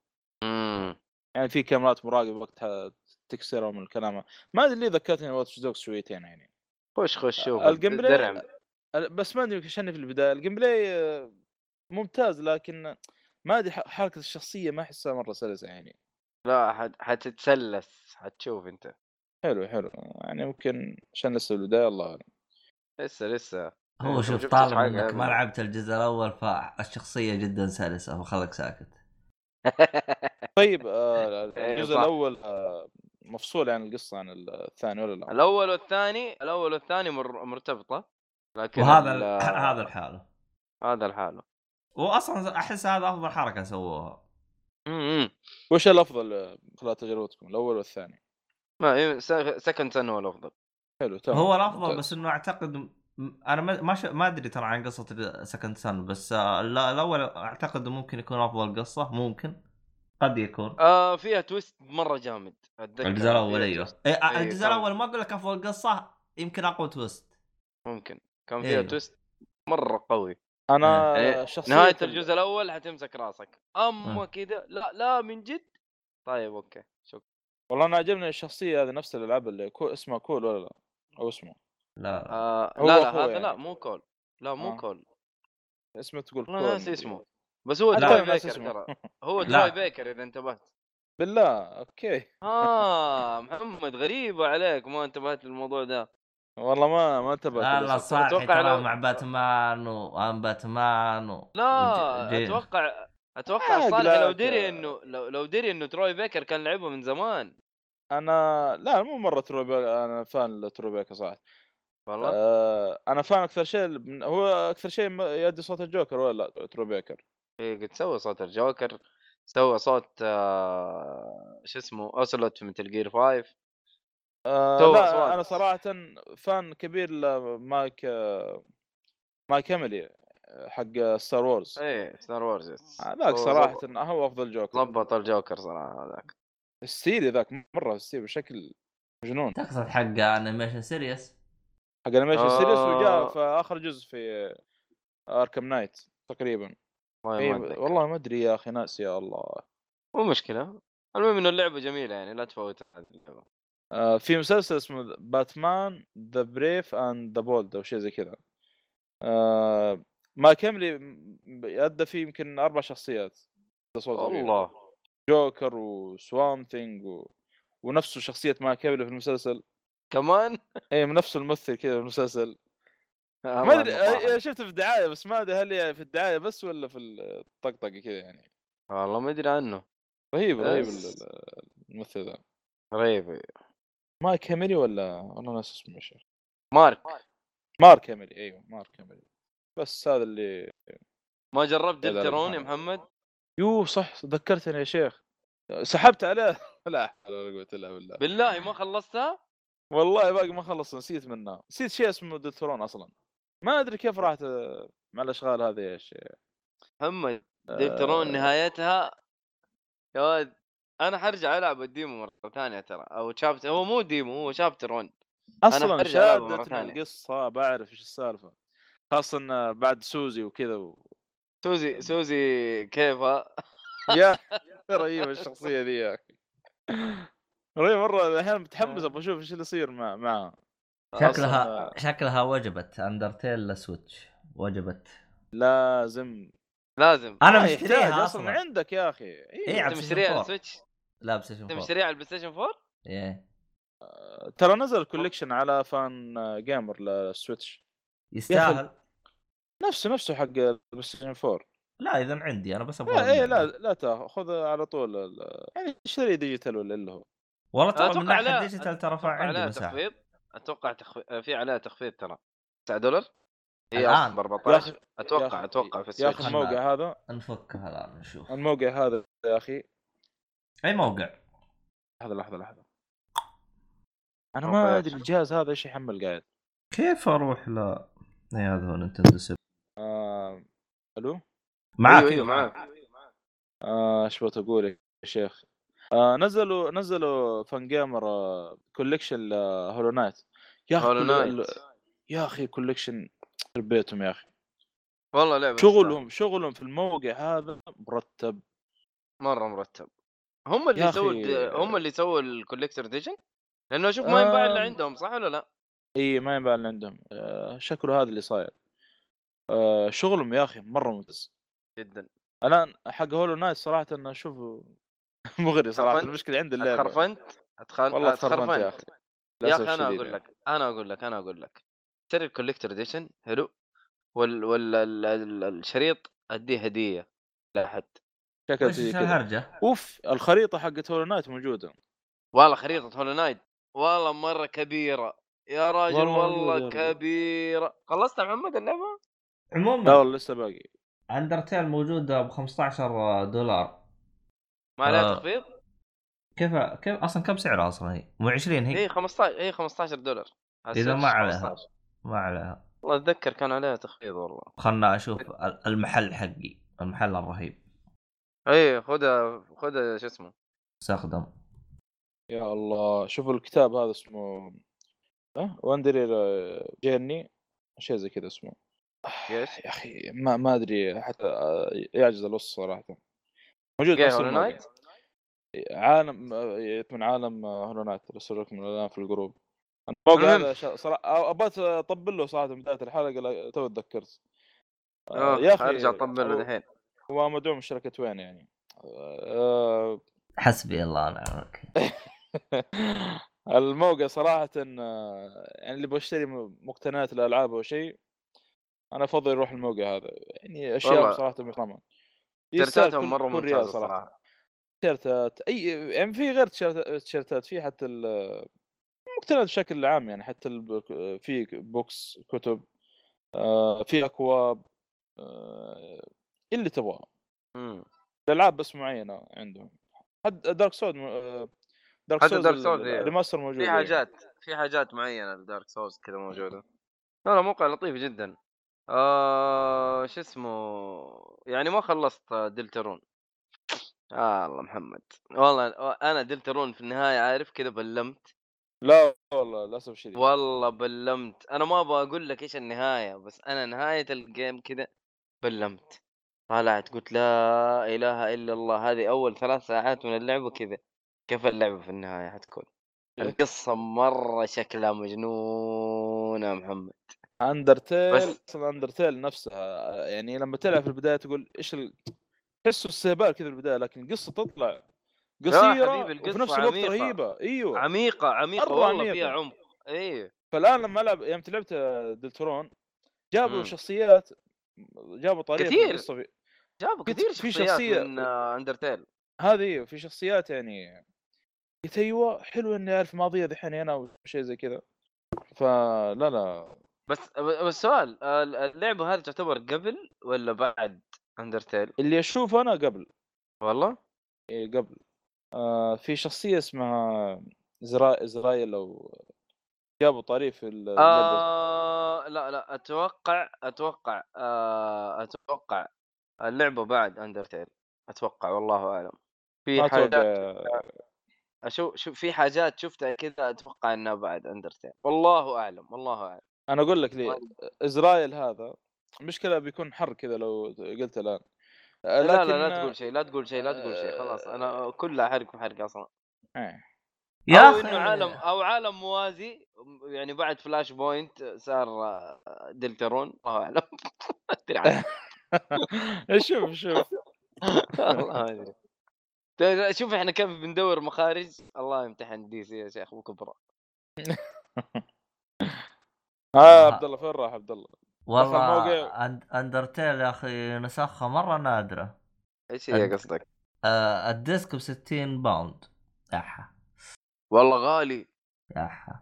أمم.
يعني في كاميرات مراقبه وقتها تكسرهم الكلام ما ادري ليه ذكرتني واتش دوجز شويتين يعني
خش خش شوف
الجيم بلاي-
درعم.
أنا- بس ما ادري عشان في البدايه الجيم بلاي آه، ممتاز لكن ما ادري ح- حركه الشخصيه ما احسها مره سلسه يعني
لا حت- حتتسلس حتشوف انت
حلو حلو يعني ممكن عشان لسه البدايه الله اعلم
لسه لسه
هو
لو
شوف
جبت
طالما
الحلقة
انك ما
هذه.
لعبت الجزء الاول فالشخصيه جدا سلسه وخلك ساكت
طيب آه،
إيه،
الجزء
صح.
الاول آه، مفصول عن القصه عن الثاني ولا لا؟
الاول والثاني الاول والثاني مر... مرتبطه لكن
وهذا
ال-
ال- هذا الحاله
هذا الحاله
واصلا احس هذا افضل حركه سووها
أمم.
وش الافضل آه، خلال تجربتكم الاول والثاني؟
ما إيه، سكند سن هو الافضل
حلو تمام
هو الافضل
ممتاز.
بس انه اعتقد م- انا ما ما, ش... ما ادري ترى عن قصه سكند سن بس آه، لا- الاول اعتقد ممكن يكون افضل قصه ممكن قد يكون
آه فيها تويست مره جامد اتذكر
الجزء الاول
فيها
ايوه
تويست.
إيه، آه،
إيه،
الجزء
كان-
الاول ما اقول لك افضل قصه يمكن اقوى تويست
ممكن كان فيها
إيه.
أيوه.
تويست مره قوي
انا
إيه.
شخصيا
نهايه الجزء الاول حتمسك راسك اما
آه.
كذا لا لا من جد طيب اوكي شكرا
والله انا عجبني الشخصيه هذه نفس الالعاب اللي كو... اسمها كول ولا لا؟ او اسمه
لا لا
آه
هو
لا لا
أخوه
هذا
يعني.
لا مو كول لا مو
آه.
كول
اسمه تقول
والله
كول
ناسي
مدري.
اسمه بس هو
حتى
تروي
أنا ناسي
بيكر
اسمه.
ترى هو
لا.
تروي بيكر اذا انتبهت
بالله اوكي
اه محمد غريبه عليك ما انتبهت للموضع ده
والله ما ما انتبهت
الله
للاسف.
صالح
أتوقع
ترى
لو-
مع باتمان وان باتمان و...
لا
وج- جي-
اتوقع
عاد
اتوقع صالح لو
لك.
دري انه لو لو دري انه تروي بيكر كان لعبه من زمان
انا لا مو مره تروبيك انا فان لتروبيك صح
والله
آه انا فاهم اكثر شيء من- هو اكثر شيء ما- يؤدي صوت الجوكر ولا لا ترو بيكر
إيه قد سوى صوت الجوكر سوى صوت آه، شو اسمه اوسلوت في متل جير 5
آه
تو
لا
أصوات.
انا صراحه فان كبير لمايك آه، مايك هاملي حق ستار وورز
ايه ستار وورز يس.
هذاك
هو
صراحه
ظبط-
هو افضل جوكر
ظبط الجوكر صراحه هذاك
ستيلي ذاك مره ستيلي بشكل مجنون
تقصد حق انيميشن سيريس
حق انيميشن سيريس وجاء
آه.
في اخر جزء في آه، اركم نايت تقريبا
والله
أي-
ما أتذكر.
إيه، والله ما ادري يا اخي ناس يا الله
مو مشكله المهم انه اللعبه جميله يعني لا تفوت هذه اللعبة.
آه، في مسلسل اسمه باتمان ذا بريف اند ذا بولد او شيء زي كذا آه، ما كملي م- ادى فيه يمكن اربع شخصيات ده صوت غريب.
والله
جوكر وسوام ثينج و... ونفسه شخصيه ما كملي في المسلسل
كمان
اي من نفس الممثل كذا في المسلسل ما
والله
ادري
مصاحب.
آه، شفته في الدعايه بس ما ادري هل يعني في الدعايه بس ولا في الطقطقه كذا يعني
والله ما ادري عنه
رهيب رهيب
بس.
ال- ال- الممثل ذا
غريب
ما كاميلي ولا والله ناس اسمه ايش
مارك
مارك كاميلي ايوه مارك كاميلي بس هذا اللي
ما جربت
لا، لا، لا،
دلترون يا
محمد.
محمد؟
يو صح ذكرتني يا شيخ سحبت عليه لا حول ولا قوه الا بالله
بالله ما خلصتها؟
والله باقي ما خلص نسيت منه نسيت شيء اسمه دثرون اصلا ما ادري كيف راحت آه، مع الاشغال هذه يا شيخ
محمد
آه.
ديلترون نهايتها يا ولد انا حرجع العب الديمو مره ثانيه ترى او شابتر هو مو ديمو هو شابتر 1
اصلا
برجع ألعبه مرة
شادتني
ثانية.
القصه بعرف ايش السالفه خاصه آه، بعد سوزي وكذا و...
سوزي سوزي كيفها
يا رهيبه الشخصيه ذي يا اخي والله مره احيانا متحمس ابغى اشوف ايش اللي يصير مع معها
آه،
شكلها شكلها وجبت اندرتيل لسويتش وجبت
لازم
لازم
ما
انا
يحتاج
مشتريها
اصلا
اصلا
عندك يا اخي
إيه،
إيه.
على
انت مشتريها على
PlayStation 4.
السويتش
لا بلايستيشن
انت
4.
مشتريها على البلاي ستيشن 4
إيه.
ترى نزل كوليكشن على فان جيمر للسويتش
يستاهل
نفسه نفسه حق البلاي ستيشن 4
لا اذا عندي انا بس ابغى
إيه،
لا ايه
أبيع.
لا لا تاخذ على طول ال- يعني اشتري ديجيتال ولا اللي هو
والله ترى من
اتوقع
ناحيه
لا
ديجيتال ترى
اتوقع
فعندي
عليها
مساحه
تخفيض اتوقع تخفيض في عليها تخفيض ترى 9 دولار هي
الآن.
اصلا ب 14 اتوقع
ياخذ-
اتوقع في
ياخذ
السويتش
مو-
موقع هذا
نفكها الان نشوف
الموقع هذا يا اخي
اي موقع
لحظه لحظه لحظه انا
موقع
ما ادري الجهاز هذا ايش يحمل قاعد
كيف اروح ل اي هذا هو نينتندو سب
آه، الو
معاك
أيوة،
ايوه معاك
آه، ايش بغيت اقول يا شيخ آه، نزلوا نزلوا آه، فان جيمر كوليكشن هولو نايت يا اخي
هولو
كل-
نايت
ال- يا اخي كوليكشن ربيتهم يا اخي
والله لعبه
شغلهم شغلهم في الموقع هذا مرتب
مره مرتب هم اللي
يا أخي-
سووا الد- هم اللي سووا الكوليكتر ديجن لانه اشوف ما ينباع الا
آم.
عندهم صح ولا لا؟
اي ما ينباع اللي عندهم آه، شكله هذا اللي صاير آه، شغلهم يا اخي مره ممتاز
جدا
الان حق هولو نايت صراحه انا اشوفه مغري صراحه
خرفنت؟
المشكله عند اللعبه
اتخرفنت أتخل-
والله اتخرفنت يا
أتخرفنت.
اخي
آه، يا
للأسف
اخي انا
الشديد
اقول
يعني.
لك انا اقول لك انا اقول لك اشتري الكوليكتر اديشن حلو وال وال ال- ال- الشريط اديه هديه لاحد
شكلها
ايش
تجي كذا
الهرجه؟
اوف الخريطه حقت هولو نايت موجوده
والله خريطه هولو نايت والله مره كبيره يا راجل
والله
والله,
موجودة يا
والله
رجل.
كبيره خلصت يا محمد اللعبه؟ نعم.
لا
عموما
والله لسه باقي
اندرتيل موجوده ب 15 دولار
ما عليها
آه.
تخفيض؟
كيف كيف اصلا كم سعرها اصلا هي؟ مو 20
إيه.
هي
هي 15 هي 15 إيه، دولار
إذا ما عليها.
15.
ما عليها
والله اتذكر كان عليها تخفيض والله
خلنا اشوف
إيه.
ال- المحل حقي المحل الرهيب
اي خذها خذها إيه، شو اسمه
استخدم
يا الله شوف الكتاب هذا اسمه ها وندري آه، جيرني شيء زي كذا اسمه
ايش؟
يا اخي ما ما ادري حتى آه، يعجز الوصف صراحه موجود
جاي
بس
هولو
الموقع.
نايت
عالم من عالم هولو نايت ارسل لكم الان في الجروب الموقع
المهم.
هذا شا- صراحه ابغى اطبل له صراحه من بدايه الحلقه لا- تو تذكرت آه،
آه،
يا اخي
ارجع اطبل له دحين
هو مدعوم من شركه وين يعني آه،
حسبي الله ونعم الوكيل
الموقع صراحه آه، يعني اللي بشتري مقتنيات الالعاب او شيء انا افضل يروح الموقع هذا يعني اشياء
والله.
صراحه محترمه
تيشيرتاتهم مره ممتازه صراحه
تيشيرتات اي يعني في غير تيشيرت- تيشيرتات في حتى ال- المقتنيات بشكل عام يعني حتى ال- في بوكس كتب آه، في اكواب آه، اللي تبغاه
مم.
الالعاب بس معينه عندهم حتى دارك سود دارك
حتى
سود
Dark Souls، إيه.
الريماستر موجود
في
يعني.
حاجات في حاجات معينه لدارك سولز كذا موجوده لا لا موقع لطيف جدا آه شو اسمه يعني ما خلصت دلترون آه الله محمد والله انا دلترون في النهايه عارف كذا بلمت
لا والله للاسف الشديد
والله بلمت انا ما ابغى اقول لك ايش النهايه بس انا نهايه الجيم كذا بلمت طلعت قلت لا اله الا الله هذه اول ثلاث ساعات من اللعبه كذا كيف اللعبه في النهايه حتكون
إيه.
القصه مره شكلها مجنون يا محمد
اندرتيل
بس-
بس اندرتيل نفسها يعني لما تلعب في البدايه تقول ايش ال... تحسه استهبال كذا في البدايه لكن قصه تطلع قصيره
حبيبي،
وفي
القصة
نفس الوقت
عميقة.
رهيبه ايوه
عميقه عميقه
مرة
والله
عميقة.
فيها عمق ايه
فالان لما العب يوم لعبت دلترون جابوا
مم.
شخصيات جابوا طريقه في
كثير.
القصه في...
جابوا
في-
كثير
في
شخصيات
شخصية-
من آه، اندرتيل
هذه في شخصيات يعني قلت ايوه حلو اني اعرف ماضيه دحين هنا وشيء زي كذا فلا لا
بس بس سؤال آه، اللعبه هذه تعتبر قبل ولا بعد اندرتيل
اللي اشوفه انا قبل
والله
إيه قبل آه في شخصيه اسمها إزرا... ازرائيل او جابوا طريف ال- اللعبة.
آه لا لا اتوقع اتوقع آه اتوقع اللعبه بعد اندرتيل اتوقع والله اعلم في
ما
حاجات
اتوقع
اشوف شوف في حاجات شفتها كذا اتوقع انها بعد اندرتيل والله اعلم والله اعلم
انا اقول لك ليه ازرائيل هذا مشكله بيكون حر كذا لو قلت الان آه،
لا لا
لكن- آه،
لا تقول شيء لا تقول شيء لا تقول شيء خلاص انا كلها حرق في حرق اصلا
إيه.
يا
او
أخي.
انه عالم او عالم موازي يعني بعد فلاش بوينت صار آه، دلترون الله اعلم ما ادري عنه.
إيه، شوف شوف
الله ما ادري ترى طيب، شوف احنا كيف بندور مخارج الله يمتحن دي سي يا شيخ وكبرى
ها آه،
آه.
عبد الله فين راح عبد الله؟
والله
الموقع.
أند- اندرتيل يا اخي نسخها مره نادره
ايش هي
أنت-
قصدك؟
آه، الديسك ب 60 باوند احا
والله غالي
احا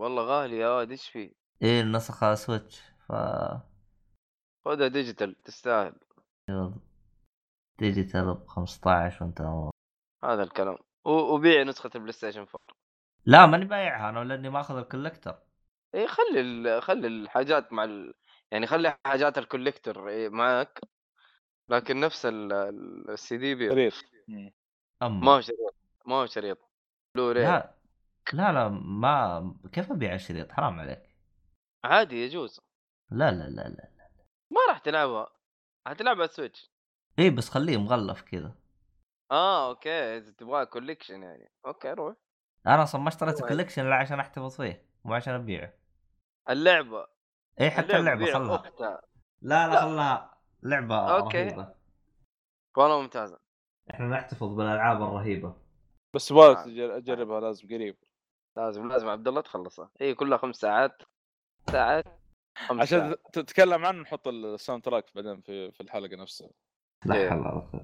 والله غالي يا واد ايش فيه؟
ايه النسخه سويتش ف
خذها ديجيتال تستاهل
ديجيتال ب 15 وانت
هذا الكلام و- وبيع نسخه البلاي ستيشن 4
لا ماني بايعها انا لاني ماخذ الكولكتر
اي خلي ال... خلي الحاجات مع ال... يعني خلي حاجات الكوليكتور إيه، معك لكن نفس ال- ال- السي دي بي
شريط
اما
ما هو شريط ما هو شريط بلوري
لا لا لا ما كيف ابيع الشريط حرام عليك
عادي يجوز
لا لا لا لا
ما راح تلعبها حتلعبها سويتش
ايه بس خليه مغلف كذا
اه اوكي اذا تبغاها كوليكشن يعني اوكي روح
انا اصلا ما اشتريت
طيب.
الكوليكشن الا عشان احتفظ فيه مو عشان ابيعه
اللعبه
إيه،
اي حتى اللعبه
بيع
خلها
اختها
لا لا خلها لعبه
أوكي.
رهيبه
والله ممتازه
احنا نحتفظ بالالعاب الرهيبه
بس
آه.
يبغالك تجر- تجربها لازم قريب
لازم لازم عبد الله تخلصها هي كلها خمس ساعات ساعات خمس
عشان
ساعات.
تت- تتكلم عنه نحط الساوند تراك بعدين في في الحلقه نفسها
لا
إيه.
حول ولا قوه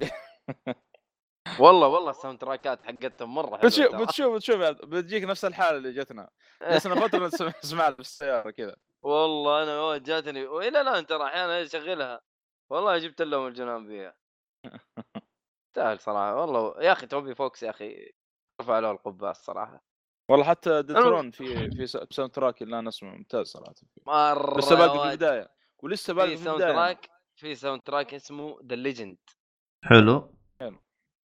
والله والله الساوند تراكات حقتهم مره حلوة
بتشوف
ترى.
بتشوف بتشوف يا عبد- بتجيك نفس الحاله اللي جتنا جلسنا فتره نسم- نسمعها في السياره كذا
والله انا يوم جاتني إيه، والى الان ترى احيانا اشغلها والله جبت لهم الجنان فيها تستاهل صراحه والله يا اخي توبي فوكس يا اخي رفع له القبعه الصراحه
والله حتى ديترون في في س- ساوند تراك اللي انا اسمه ممتاز صراحه
مره
لسه باقي في
يا واد.
البدايه ولسه باقي
في
في
ساوند
البدايه
تراك في ساوند تراك اسمه ذا ليجند
حلو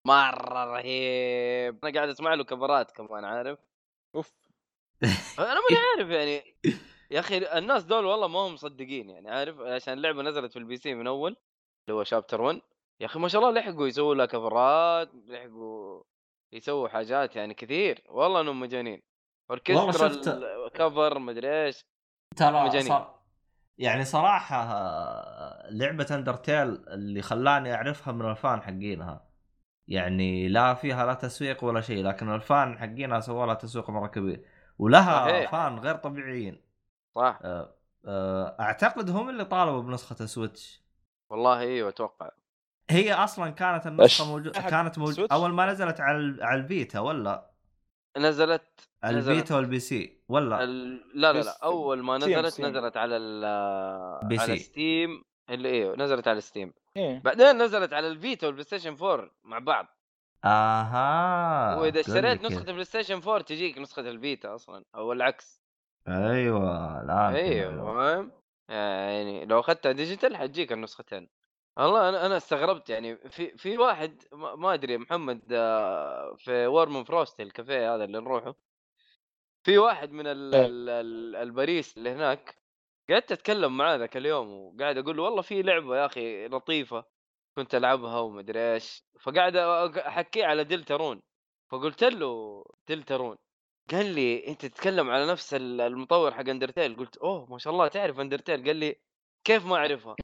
مره رهيب انا قاعد اسمع له كفرات كمان عارف
اوف
انا ماني عارف يعني يا اخي الناس دول والله ما هم مصدقين يعني عارف عشان اللعبه نزلت في البي سي من اول اللي هو شابتر 1 يا اخي ما شاء الله لحقوا يسووا لها كفرات لحقوا يسووا حاجات يعني كثير والله انهم مجانين
والله
اوركسترا
شفت-
ال- كفر مدري ايش
ترى
مجانين.
صار يعني صراحه آه، لعبه اندرتيل اللي خلاني اعرفها من الفان حقينها يعني لا فيها لا تسويق ولا شيء لكن الفان حقينها سووا لها تسويق مره كبير ولها
صحيح.
فان غير طبيعيين
صح
آه، آه، اعتقد هم اللي طالبوا بنسخه السويتش
والله ايوه اتوقع
هي اصلا كانت
أش-
النسخه موجوده
أحد
كانت موجوده
سويتش؟
اول ما نزلت على ال- على البيتا ولا
نزلت نزلت.
البيتا والبي سي ولا
ال... لا لا
بس-
لا اول ما
ستيم-
نزلت
ستيم.
نزلت على ال...
بي
على
سي
ستيم اللي ايوه نزلت على ستيم
ايه
بعدين نزلت على الفيتا والبلاي ستيشن 4 مع بعض
اها
واذا
قول لي
اشتريت
كيف.
نسخه البلاي ستيشن 4 تجيك نسخه الفيتا اصلا او العكس
ايوه الان
ايوه فاهم يعني لو اخذتها ديجيتال حتجيك النسختين والله انا انا استغربت يعني في في واحد ما ما ادري محمد آه، في وارم فروست الكافيه هذا اللي نروحه في واحد من ال
إيه.
ال ال الباريس اللي هناك قعدت اتكلم معاه ذاك اليوم وقاعد اقول له والله في لعبه يا اخي لطيفه كنت العبها ومدري ايش فقاعد أ- احكيه على دلترون فقلت له دلترون قال لي انت تتكلم على نفس ال- المطور حق اندرتيل قلت اوه ما شاء الله تعرف اندرتيل قال لي كيف ما اعرفها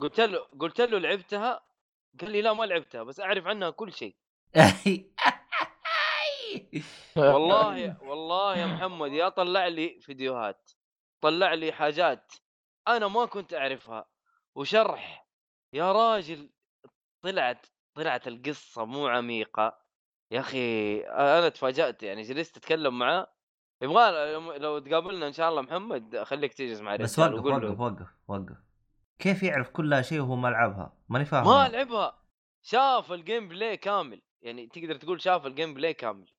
قلت له قلت له لعبتها قال لي لا ما لعبتها بس اعرف عنها كل شيء والله والله يا محمد يا طلع لي فيديوهات طلع لي حاجات انا ما كنت اعرفها وشرح يا راجل طلعت طلعت القصه مو عميقه يا اخي انا تفاجات يعني جلست اتكلم معاه يبغى لو- لو تقابلنا ان شاء الله محمد خليك تجلس مع
بس
الرجال
وقف
وقول
وقف
له
وقف وقف كيف يعرف كل شيء وهو ما لعبها؟ ماني فاهم
ما لعبها شاف الجيم بلاي كامل يعني تقدر تقول شاف الجيم بلاي كامل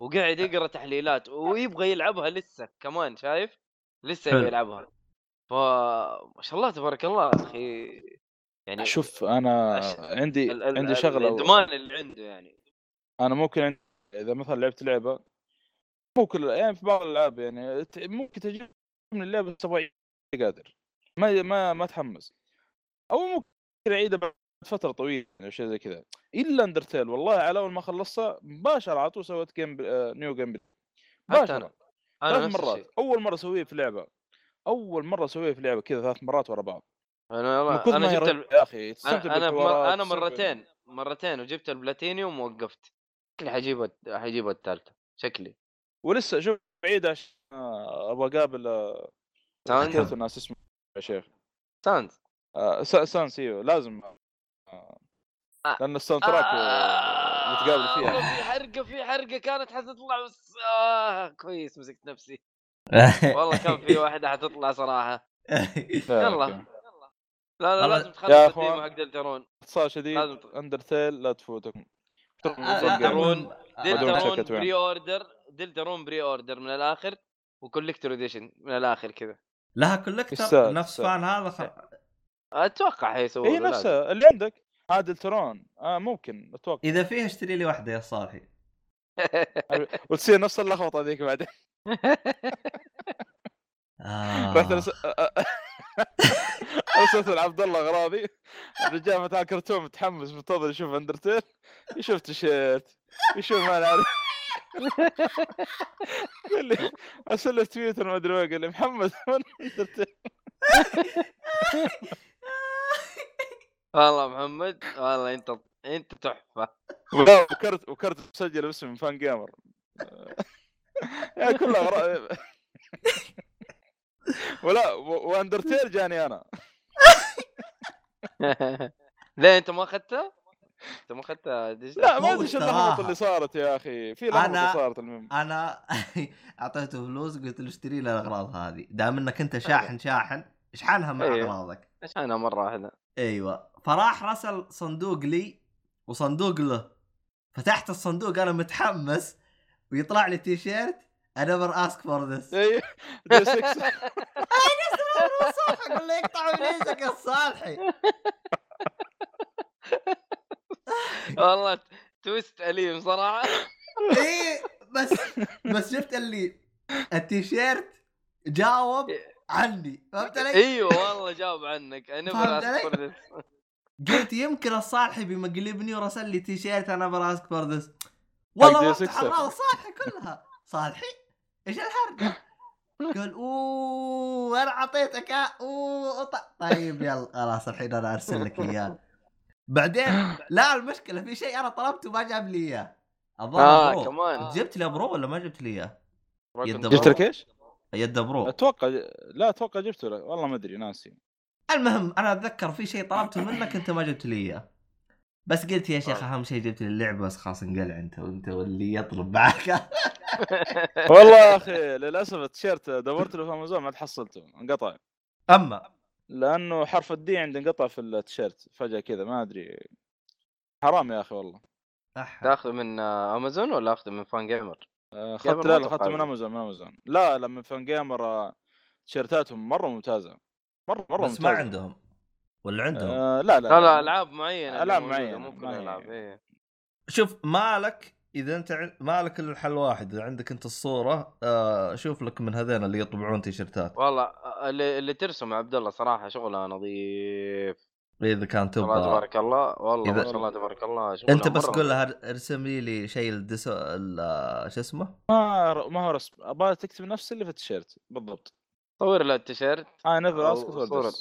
وقاعد يقرا تحليلات ويبغى يلعبها لسه كمان شايف لسه
حلو.
يبغى يلعبها ف ما شاء الله تبارك الله اخي يعني
شوف انا
أش-
عندي
ال- ال-
عندي
ال-
شغله
الادمان اللي عنده يعني
انا ممكن عن- اذا مثلا لعبت لعبه مو كل يعني في بعض الالعاب يعني ت- ممكن تجي من اللعبه تبغى قادر ما ما ما اتحمس او ممكن اعيدها بعد فتره طويله او شيء زي كذا الا اندرتيل والله على اول ما خلصتها مباشره على طول سويت جيم بل... آه، نيو جيم بل...
حتى انا
مباشره
انا
ثلاث
نفس
مرات
الشيء
اول مره اسويه في لعبه اول مره اسويه في لعبه كذا ثلاث مرات ورا بعض
انا
من كثر
والله انا
ما هي
جبت
رهيبة
ال...
يا اخي
انا
تستمتع
انا, مر...
بالحوارات،
أنا
تستمتع بال-
مرتين مرتين وجبت البلاتينيوم ووقفت شكلي حجيب الت- حجيب الثالثه شكلي
ولسه شوف بعيد عشان آه، ابغى اقابل آه،
ساند
ذكرت الناس اسمه يا شيخ
ساند
آه، سا- سانس ايوه لازم آه،
آه.
لان الساوند تراك آه، نتقابل
والله
فيها
في حرقه في حرقه كانت حتطلع بس آه كويس مسكت نفسي والله كان في واحده حتطلع صراحه
لا،
يلا.
أوكي.
لا لا
والله-
لازم
يا
تخلص
أخوان.
الديمو حق دلترون
اختصار شديد
لازم تخ-
اندرتيل لا تفوتكم اتركوا
آه، آه،
الفرق يعني.
درون،
مدرون
دلترون
شركة وين.
بري اوردر دلترون بري اوردر من الاخر وكوليكتور اديشن من الاخر كذا
لها
يستاهل،
كولكتر نفس
يستاهل.
فان هذا خل...
اتوقع حيسووا له،
هي
لازم.
إيه، نفسها اللي عندك عادل ترون آه ممكن اتوقع
اذا فيها اشتري لي واحده يا صالحي
وتصير نفس اللخبطه ذيك بعدين
آه.
رحت أرس- أ- أ- ارسلت لعبد الله غرابي الرجال متاع كرتون متحمس منتظر يشوف اندرتيل يشوف تيشيرت يشوف ما نعرف قال لي ارسل له تويتر ما ادري وين قال لي محمد وين اندرتيل
والله محمد والله انت انت تحفه
ولا- وكرت وكرت مسجل باسم فان جيمر آه. يعني كلها غرا... ولا و- واندرتيل جاني انا
ليه انت ما اخذتها؟ انت ما اخذتها ديجيتال؟
لا
هو
ما ادري ايش
اشتراها.
اللخبطه اللي صارت يا اخي في لخبطه
أنا-
صارت المهم
انا اعطيته فلوس قلت له اشتري لي الاغراض هذه دام انك انت شاحن شاحن اشحنها مع
أيوه.
اغراضك
ايش انا مره واحده
ايوه فراح رسل صندوق لي وصندوق له فتحت الصندوق انا متحمس ويطلع لي تيشيرت I never ask for this
إيه.
اي دي 6
صح اقول له يقطع ابليسك يا صالحي
والله تويست اليم صراحه
ايه بس بس شفت اللي التيشيرت جاوب عني فهمت علي؟
ايوه والله جاوب عنك انا
فهمت علي؟
برا
قلت يمكن الصالحي بيمقلبني ورسل لي تيشيرت انا براسك فردس والله
حق
وقت
Day Sixer.
حراره صالحي كلها صالحي ايش الحرق قال اوه انا اعطيتك إياه. اوه أط- آه، طيب يلا خلاص الحين انا ارسل لك اياه بعدين لا المشكله في شيء انا طلبته ما جاب لي اياه الظاهر
اه
برو.
كمان
جبت لي برو ولا ما جبت لي اياه؟ يد
جبت لك ايش؟
يد برو
اتوقع لا اتوقع جبته لك والله ما ادري ناسي
المهم انا اتذكر في شيء طلبته منك انت ما جبت لي اياه بس قلت يا
آه.
شيخ اهم شيء جبت لي اللعبه بس خلاص انقلع انت وانت واللي يطلب معك
والله يا اخي للاسف التيشيرت دورت له في امازون ما حصلته انقطع
اما
لانه حرف الدي عندي انقطع في التيشيرت فجاه كذا ما ادري حرام يا اخي والله
أح-
تاخذه من آه، امازون ولا اخذه من فان جيمر؟
آه،
جابر
اخذت
ما
لا لا، اخذته
توقع
من
ذا.
امازون من امازون لا لما فان جيمر آه، تيشيرتاتهم مره ممتازه مره مره
بس
طيب.
ما عندهم ولا عندهم آه.
آه لا لا
لا لا العاب معينه اللي
ألعاب
موجودة،
معينة،
مو كل
معينة.
الالعاب ايه
شوف مالك اذا انت عن- مالك الا الحل واحد اذا عندك انت الصوره آه شوف لك من هذين اللي يطبعون تيشرتات
والله آه، اللي, اللي ترسم يا عبد الله صراحه شغلها نظيف
اذا كان
الله
تبغى
تبارك الله والله ما
إذا-
شاء الله تبارك الله شغلها
انت بس
مرة
قول لها ارسمي لي شيء الدسو ال- آه، شو اسمه
ما ما هو رسم ابغى تكتب نفس اللي في التيشيرت بالضبط
صور له التيشيرت
اي نيفر اسك
أو آه، صورة.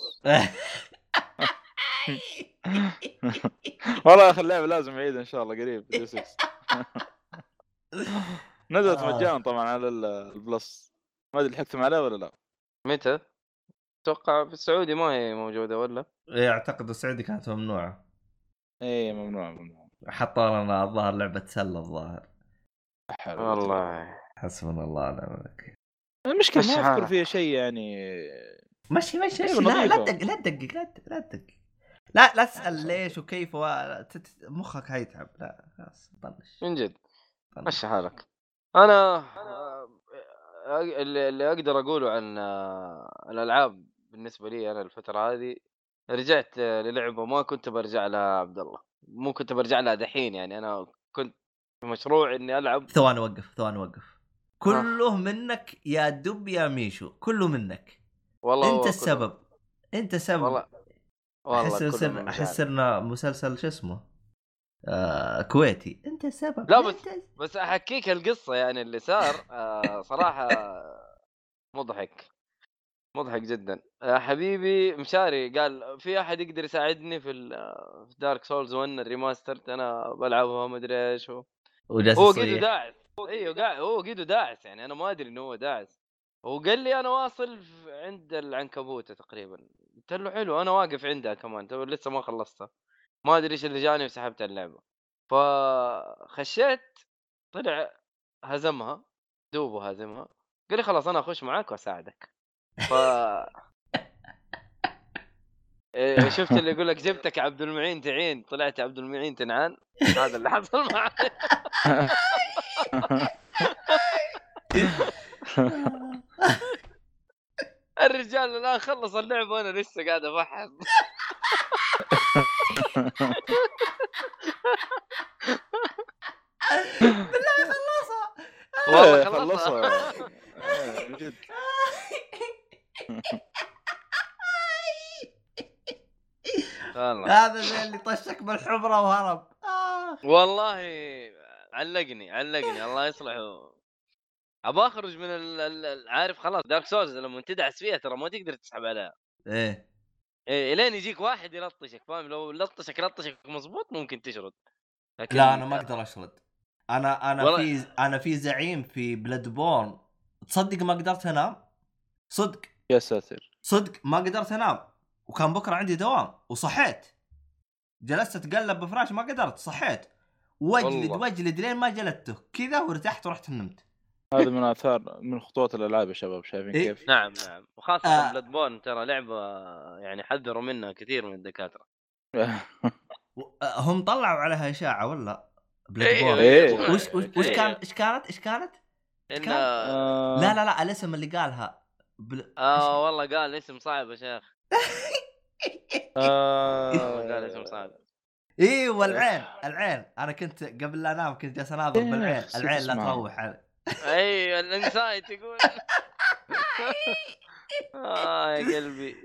والله يا اخي اللعبه لازم اعيد ان شاء الله قريب دي 6 نزلت
آه.
مجانا طبعا على ال- البلس ما ادري لحقتم عليها ولا لا
متى؟ اتوقع في السعودي ما هي موجوده ولا؟
إيه، اعتقد السعودي كانت ممنوعه
اي إيه، ممنوع ممنوع
حطوا لنا الظاهر لعبه سله الظاهر
حلو.
والله
حسبنا الله ونعم الوكيل
المشكله
مش
ما اذكر
عارف.
فيها شيء يعني
مشي مشي
إيه،
أيوة،
مشي لا لا
نظيفة.
تدقق لا تدقق لا تدقق- لا تدقق لا لا تسال ليش وكيف و- ت- ت- مخك هيتعب لا خلاص طنش
من جد
طنش.
مشي حالك انا آه، اللي اللي اقدر اقوله عن آه، الالعاب بالنسبه لي انا الفتره هذه رجعت آه، للعبه ما كنت برجع لها يا عبد الله مو كنت برجع لها دحين يعني انا كنت في مشروع اني العب
ثواني وقف ثواني
آه.
وقف كله منك يا دب يا ميشو كله منك
والله هو
انت
كله-
السبب انت السبب
والله والله
احس
كله
يصير-
من
احس
مشاعري.
صرنا مسلسل شو اسمه آه كويتي انت السبب
لا بس-
أنت-
بس احكيك القصه يعني اللي صار آه، صراحه مضحك مضحك جدا آه، حبيبي مشاري قال في احد يقدر يساعدني في ال- آه، في دارك سولز 1 الريماسترد انا بلعبها ما ادري ايش هو
وجالس
هو قيدو
يصيح
داعس هو- ايوه قاعد هو قيدو داعس يعني انا ما ادري انه هو داعس هو قال لي انا واصل في- عند العنكبوته تقريبا قلت له حلو انا واقف عندها كمان تو لسه ما خلصتها ما ادري ايش اللي جاني وسحبت على اللعبه فخشيت طلع هزمها دوبه هزمها قال لي خلاص انا اخش معاك واساعدك ف إيه، شفت اللي يقول لك جبتك يا عبد المعين تعين طلعت يا عبد المعين تنعان هذا اللي حصل معي الرجال الان خلص اللعبه وانا لسه قاعد افحص والله خلصها
إيه، من جد.
والله.
هذا زي اللي طشك بالحمره وهرب آه.
والله علقني علقني الله يصلحه ابغى اخرج من ال- ال- ال- عارف خلاص دارك سولز لما تدعس فيها ترى ما تقدر تسحب عليها
ايه
إيه الين يجيك واحد يلطشك فاهم لو لطشك لطشك مضبوط ممكن تشرد لكن
لا انا ما اقدر اشرد انا انا
والله-
في انا في زعيم في بلاد بورن تصدق ما قدرت انام صدق
يا ساتر
صدق ما قدرت انام وكان بكره عندي دوام وصحيت جلست اتقلب بفراش ما قدرت صحيت واجلد
والله.
واجلد لين ما جلدته كذا ورتحت ورحت نمت
هذا من اثار من خطوات الالعاب يا شباب شايفين
إيه.
كيف؟
نعم نعم وخاصه
آه.
آه. بلاد بورن ترى لعبه يعني حذروا منها كثير من الدكاتره
و- آه، هم طلعوا عليها اشاعه ولا بلاد
إيه،
بورن
إيه.
طبعاً.
وش وش وش كان ايش كانت ايش كانت؟ كان-
إن
آه،
لا لا لا الاسم اللي قالها بل...
اه والله قال اسم صعب يا شيخ
آه،
والله قال اسم صعب
ايه
إيه.
والعين العين انا كنت قبل لا انام كنت جالس اناظر
إيه،
بالعين
خصيت
العين لا
اسمها.
تروح علي.
اي الانسايت إيه، يقول اه يا قلبي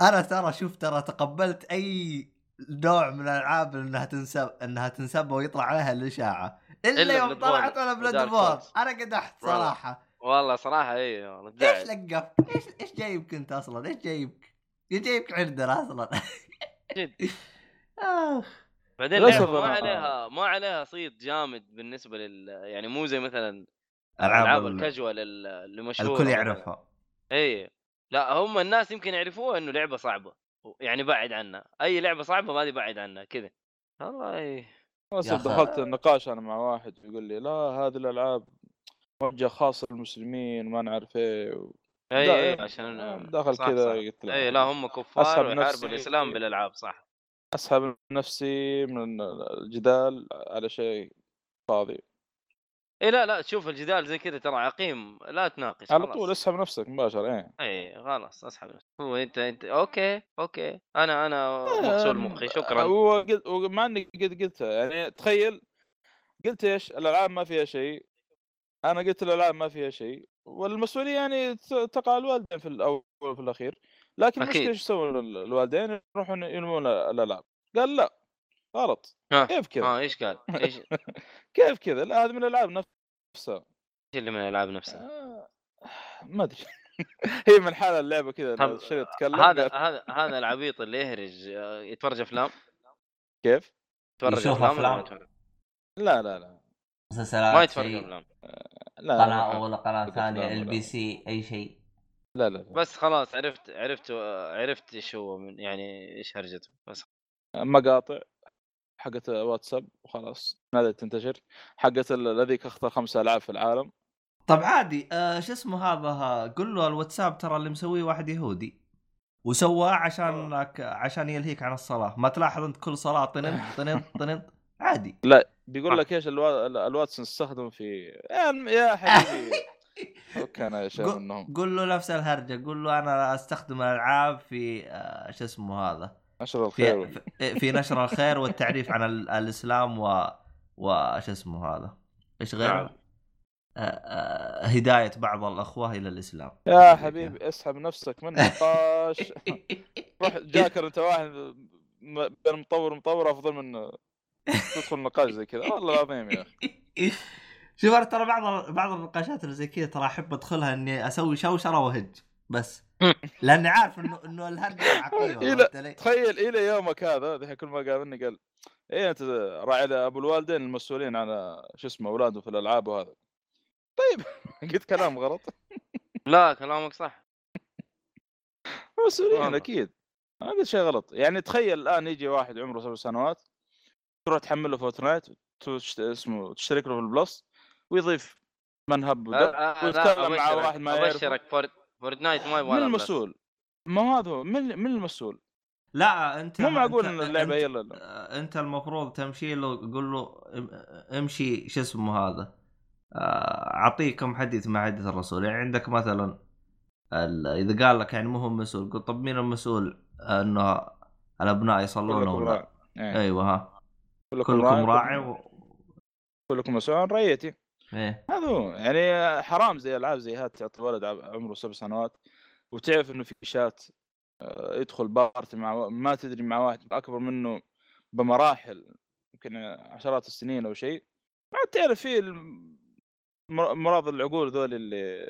انا آه. ترى شوف ترى تقبلت اي نوع من الالعاب انها تنسب انها تنسب ويطلع عليها الاشاعه الا,
إلا
يوم
Bloodborne
طلعت انا
ودارك
بلاد بورن
Souls.
انا قدحت
والله.
صراحه
والله صراحه اي والله
ايش
تزعل
لقفك؟ ايش ايش جايبك انت اصلا؟ ايش جايبك؟ ايش جايبك عندنا آه. اصلا؟
جد.
آخ.
بعدين
للأسف
لعبة ما
أنا-
عليها ما عليها صيت جامد بالنسبه لل يعني مو زي مثلا
ألعاب
العاب
ال-
الكاجوال ال- اللي مشهوره
الكل يعرفها
اي إيه. لا هم الناس يمكن يعرفوها انه لعبه صعبه يعني بعد عنها اي لعبه صعبه ما دي بعد عنها كذا والله
أصلاً
أخي.
دخلت النقاش انا مع واحد يقول لي لا هذه الالعاب موجهه خاصه للمسلمين ما نعرف ايه و... لا،
اي
إيه.
عشان
دخل
صح،
كذا
صح.
قلت له
اي إيه، لا هم
أسحب
كفار
نفسي.
ويحاربوا
إيه.
الاسلام بالالعاب صح
اسحب نفسي من الجدال على شيء فاضي
اي إيه، لا لا شوف الجدال زي كذا ترى عقيم لا تناقش
على
خلاص.
طول اسحب نفسك مباشره ايه
اي خلاص اسحب نفسك هو انت انت اوكي اوكي انا انا
آه،
مغسول مخي شكرا
وقل- ومع اني قد قلتها يعني تخيل قلت ايش الالعاب ما فيها شيء انا قلت الالعاب ما فيها شيء والمسؤوليه يعني ت- تقع على الوالدين في الاول وفي الاخير لكن
أكيد.
المشكله ايش يسوون ال- الوالدين يروحون يلمون الالعاب قال لا غلط
ها،
كيف كذا
اه ايش قال؟ ايش إيش
كيف كذا لا هذه من الالعاب نفسها
اللي من الالعاب نفسها؟
آه، ما ادري هي من حال اللعبه كذا
طب، آه،
الشريط تكلم
هذا هذا هذا العبيط اللي يهرج آه، يتفرج افلام
كيف؟
يتفرج
يشوف
افلام ولا ما
أفلام.
يتفرج؟
لا لا لا
مسلسلات
ما يتفرج
آه، شيء.
افلام
لا
قناه
لا,
اولى قناه
أفلام
ثانيه
ولا-
البي سي اي شيء
لا, لا, لا.
بس خلاص عرفت عرفت آه، عرفت ايش هو من يعني ايش هرجته بس
مقاطع حقت واتساب وخلاص ما بدأت تنتشر حقت ال- هذيك اخطر خمسة العاب في العالم
طب عادي آه شو اسمه هذا آه، قل له الواتساب ترى اللي مسويه واحد يهودي وسواه عشان عشان يلهيك عن الصلاه ما تلاحظ انت كل صلاه طننت طننت طننت عادي
بيقول
صح.
لك ايش الوا... ال- الواتس نستخدم في يا الم- يا حبيبي كان يا شيخ
قل-
منهم
قل له نفس الهرجه قل له انا استخدم الالعاب في آه شو اسمه هذا
عشر
في
الخير
في- في نشر الخير والتعريف عن ال- الاسلام و وش اسمه هذا ايش غيره؟
نعم.
آه، آه، هدايه بعض الاخوه الى الاسلام
يا حبيبي اسحب نفسك من النقاش روح جاكر انت واحد م- بين مطور ومطور افضل من تدخل نقاش زي كذا والله العظيم يا اخي
شوف انا ترى بعض بعض النقاشات اللي زي كذا ترى احب ادخلها اني اسوي شوشره وهج بس لاني عارف انه انه الهرجه عقيمه
إيه،
عرفت علي؟
تخيل الى يومك هذا ذحين كل ما قابلني قال ايه انت راعي ابو الوالدين المسؤولين على شو اسمه اولاده في الالعاب وهذا طيب قلت كلام غلط
لا كلامك صح
مسؤولين
والله.
اكيد هذا شيء غلط يعني تخيل الان يجي واحد عمره سبع سنوات تروح تحمل له فورتنايت وتشت... اسمه تشترك له في البلس ويضيف منهب
لا،
وده.
لا، لا،
ويتكلم مع
أبشرك-
واحد ما يعرفه.
ابشرك فورت فورتنايت ما يبغى
من
لها بلاس.
المسؤول؟ ما هو هذا هو من من المسؤول؟
لا انت
مو معقول
أنت-
ان اللعبه هي
أنت,
لا لا
انت المفروض تمشي له قول له ام- امشي شو اسمه هذا آه، اعطيكم حديث مع حديث الرسول يعني عندك مثلا ال- اذا قال لك يعني مو هو المسؤول قلت طب مين المسؤول انه الابناء يصلون
كلكم
ولا
راعي إيه.
ايوه ها
راعي،
كلكم راعي و...
كلكم مسؤول عن رعيتي
إيه.
ايه
هذا هو يعني حرام زي العاب زي هات تعطي ولد عب- عمره سبع سنوات وتعرف انه في شات آه، يدخل بارتي مع وا- ما تدري مع واحد اكبر منه بمراحل يمكن عشرات السنين او شيء ما عاد تعرف فيه الم- مر- مرض العقول ذول اللي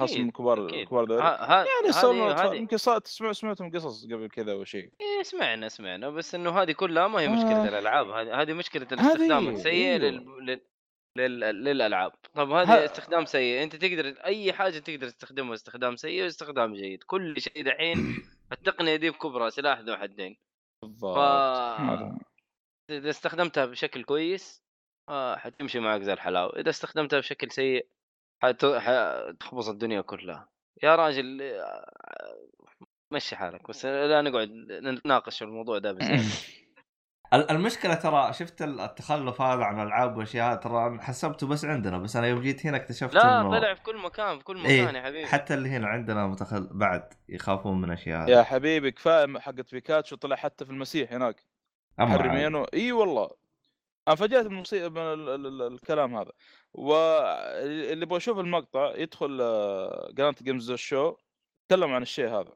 خاصة
أكيد،
من كبار
أكيد.
كبار ذول
ها- ها-
يعني
هذه-
صاروا أطفال.
هذه
يمكن صار تسمع سمعتهم قصص قبل كذا او شيء
إيه، سمعنا سمعنا بس انه هذه كلها ما هي
آه.
مشكله الالعاب هذه هذه مشكله
هذه-
الاستخدام السيء
أيوه.
لل... لل... لل... للالعاب طب
ها-
هذا استخدام سيء انت تقدر اي حاجه تقدر تستخدمها استخدام سيء واستخدام جيد كل شيء دحين التقنيه دي بكبرها سلاح ذو حدين ف
بالضبط هذا.
اذا استخدمتها بشكل كويس آه حتمشي معك زي الحلاوه اذا استخدمتها بشكل سيء حت... حتخبص الدنيا كلها يا راجل آه، مشي حالك بس لا نقعد نتناقش في الموضوع ده بزيادة.
ال- المشكله ترى شفت ال- التخلف هذا عن العاب واشياء ترى أنا حسبته بس عندنا بس انا يوم جيت هنا اكتشفت
لا
انه
طلع في كل مكان في كل
إيه،
مكان يا حبيبي
حتى اللي هنا عندنا متخل بعد يخافون من اشياء
يا حبيبي كفايه حقت بيكاتشو طلع حتى في المسيح هناك
أما عاد.
حرمينه اي والله انفجأت من المصي... من ال... ال... ال... الكلام هذا واللي يبغى يشوف المقطع يدخل آه، قناه جيمز شو تكلم عن الشيء هذا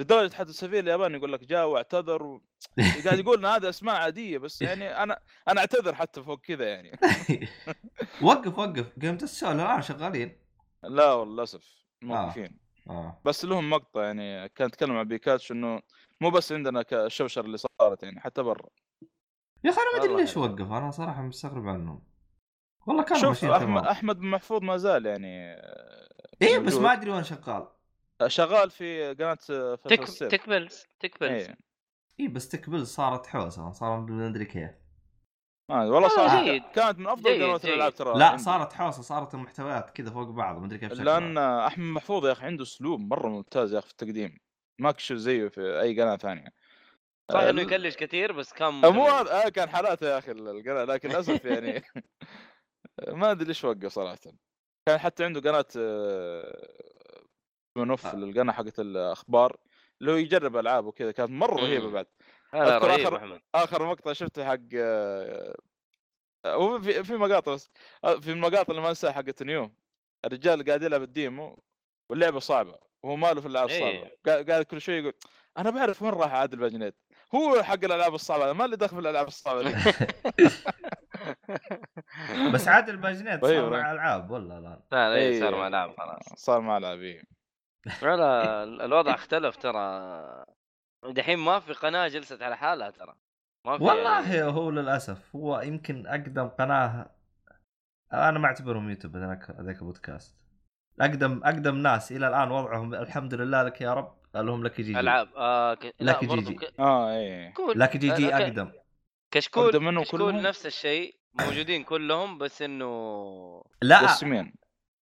لدرجه حتى السفير الياباني يقول لك جاء واعتذر و... قاعد يقول إن هذا اسماء عاديه بس يعني انا انا اعتذر حتى فوق كذا يعني
وقف وقف جيم السول الان شغالين
لا والله للاسف موقفين
آه.
اه
بس لهم مقطع يعني كان يتكلم عن بيكاتشو انه مو بس عندنا ك- الشوشره اللي صارت يعني حتى برا
يا اخي انا ما ادري
والله يعني.
ليش
حلو.
وقف انا صراحه مستغرب عنهم والله كانوا
شوف
ماشيين
احمد
تمام
احمد بن محفوظ ما زال يعني آه،
ايه بس
موجود.
ما ادري وين شغال
شغال في قناه فيصل
تك...
السير
تكبل تكبل
إيه.
ايه بس تكبل صارت حوسه صار ما ادري كيف
ما أدري، آه، والله صار
آه، جيد.
كانت من افضل
جيد،
قنوات
جيد.
الالعاب ترى
لا
عندي.
صارت حوسه صارت المحتويات كذا فوق بعض ما ادري كيف شكلها
لان احمد محفوظ يا اخي عنده اسلوب مره ممتاز يا اخي في التقديم ماكش زيه في اي قناه ثانيه
صح
آه،
انه يكلش كثير بس كان
مو
مميز.
هذا آه كان حالاته يا اخي القناه لكن للاسف يعني ما ادري ليش وقف صراحه كان حتى عنده قناه آه، منوف
آه.
القناه حقت الاخبار اللي هو يجرب العاب وكذا كانت مره رهيبه
مم.
بعد
لا، لا
أذكر
رهيب
آخر-
احمد
اخر مقطع شفته حق آه، هو في في مقاطع بس آه، في المقاطع اللي ما انساها حقت نيو الرجال قاعد يلعب الديمو واللعبه صعبه وهو ماله في الالعاب
إيه.
الصعبه قا- قاعد كل شوي يقول انا بعرف وين راح عادل باجنيت هو حق الالعاب الصعبه ما اللي دخل في الالعاب الصعبه دي.
بس عاد الباجنات
طيب،
صار مع العاب والله الان
لا لا إيه، صار
إيه.
مع لعب خلاص
صار مع العابين
لا لا ال- الوضع اختلف ترى دحين ما في قناه جلست على حالها ترى ما في يعني-
والله هو للاسف هو يمكن اقدم قناه انا ما اعتبرهم يوتيوب هذاك هذاك بودكاست اقدم اقدم ناس الى الان وضعهم الحمد لله لك يا رب لهم لك جي جي
العاب آه ك... لا
لك
برضو
جيجي.
ك-
اه ايه
كشكول
لك جي جي
آه، ك-
اقدم
كشكول
أقدم منهم
كشكول
كلهم؟
نفس الشيء موجودين كلهم بس انه
لا
قسمين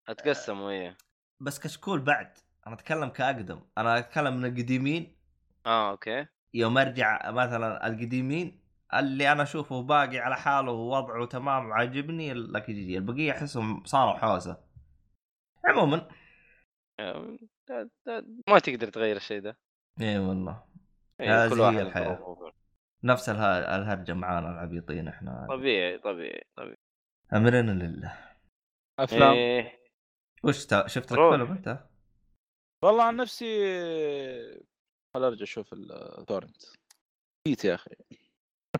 اتقسموا ايه
بس كشكول بعد انا اتكلم كاقدم انا اتكلم من القديمين
اه اوكي
يوم ارجع مثلا القديمين اللي انا اشوفه باقي على حاله ووضعه تمام عاجبني لك جي جي البقيه احسهم صاروا حوسه عموما
آه، لا- لا- ما تقدر تغير الشيء ده
اي والله
إيه،
هذه
كل
هي
واحد
الحياة.
ظروفه.
نفس اله- الهرجه معانا العبيطين احنا
طبيعي طبيعي طبيعي
امرنا لله
افلام
إيه.
وش تا... شفت لك
روح.
فيلم انت؟
والله عن نفسي خل ارجع اشوف التورنت آه، نسيت يا اخي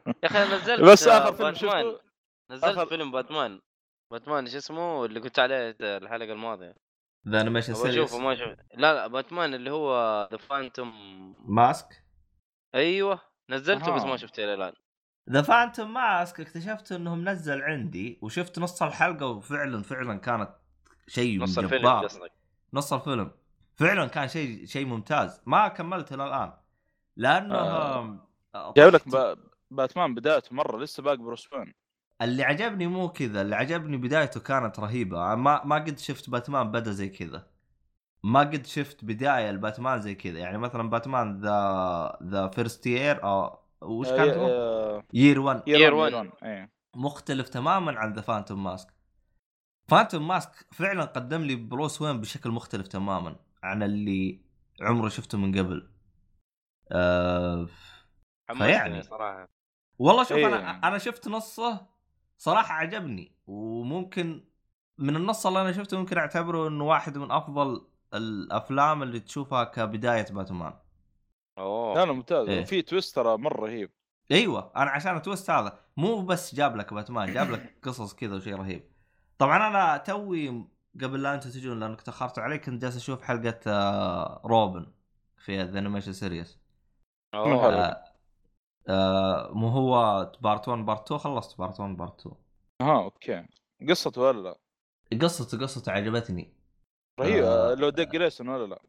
يا اخي أنا نزلت
بس
آه،
اخر فيلم
باتمان
شفته
نزلت
آخر-
فيلم باتمان باتمان ايش اسمه اللي قلت عليه الحلقه الماضيه
ذا انيميشن
ابغى
سيريس
اشوفه ما شفت لا لا باتمان اللي هو ذا فانتوم
ماسك
ايوه نزلته بس
أها.
ما شفته الى الان
ذا فانتوم ماسك اكتشفت انه منزل عندي وشفت نص الحلقه وفعلا فعلا كانت شيء
نص الفيلم
جبار
قصدك
نص الفيلم فعلا كان شيء شيء ممتاز ما كملته الى الان لانه
آه.
آم، آه،
جايب لك
طحت.
با- باتمان بدايته مره لسه باقي بروس وين
اللي عجبني مو كذا اللي عجبني بدايته كانت رهيبه ما ما قد شفت باتمان بدا زي كذا ما قد شفت بدايه لباتمان زي كذا يعني مثلا باتمان ذا ذا فيرست يير او
آه،
وش كان اسمه؟ يير 1
Year
يير
One. إيه.
وان ايه
مختلف تماما عن ذا فانتوم ماسك فانتوم ماسك فعلا قدم لي بروس وين بشكل مختلف تماما عن اللي عمره شفته من قبل أه فيعني.
حمستني صراحه
والله شوف
إيه.
انا انا شفت نصه صراحه عجبني وممكن من النص اللي انا شفته ممكن اعتبره انه واحد من افضل الافلام اللي تشوفها كبدايه باتمان
اوه
كان ممتاز
إيه.
وفي تويست ترى مره رهيب
ايوه انا عشان التويست هذا مو بس جاب لك باتمان جاب لك قصص كذا وشيء رهيب طبعا انا توي قبل لا انتم تجون لانك تاخرت علي كنت جالس اشوف حلقه آه، روبن في ذا انيميشن سيريس
مو حلو.
اوه
آه، مو هو بارت 1 بارت 2 خلصت بارت 1 بارت 2
ها اوكي قصته ولا لا؟
قصته قصته عجبتني
رهيبه
آه.
لو دق ليسون ولا لا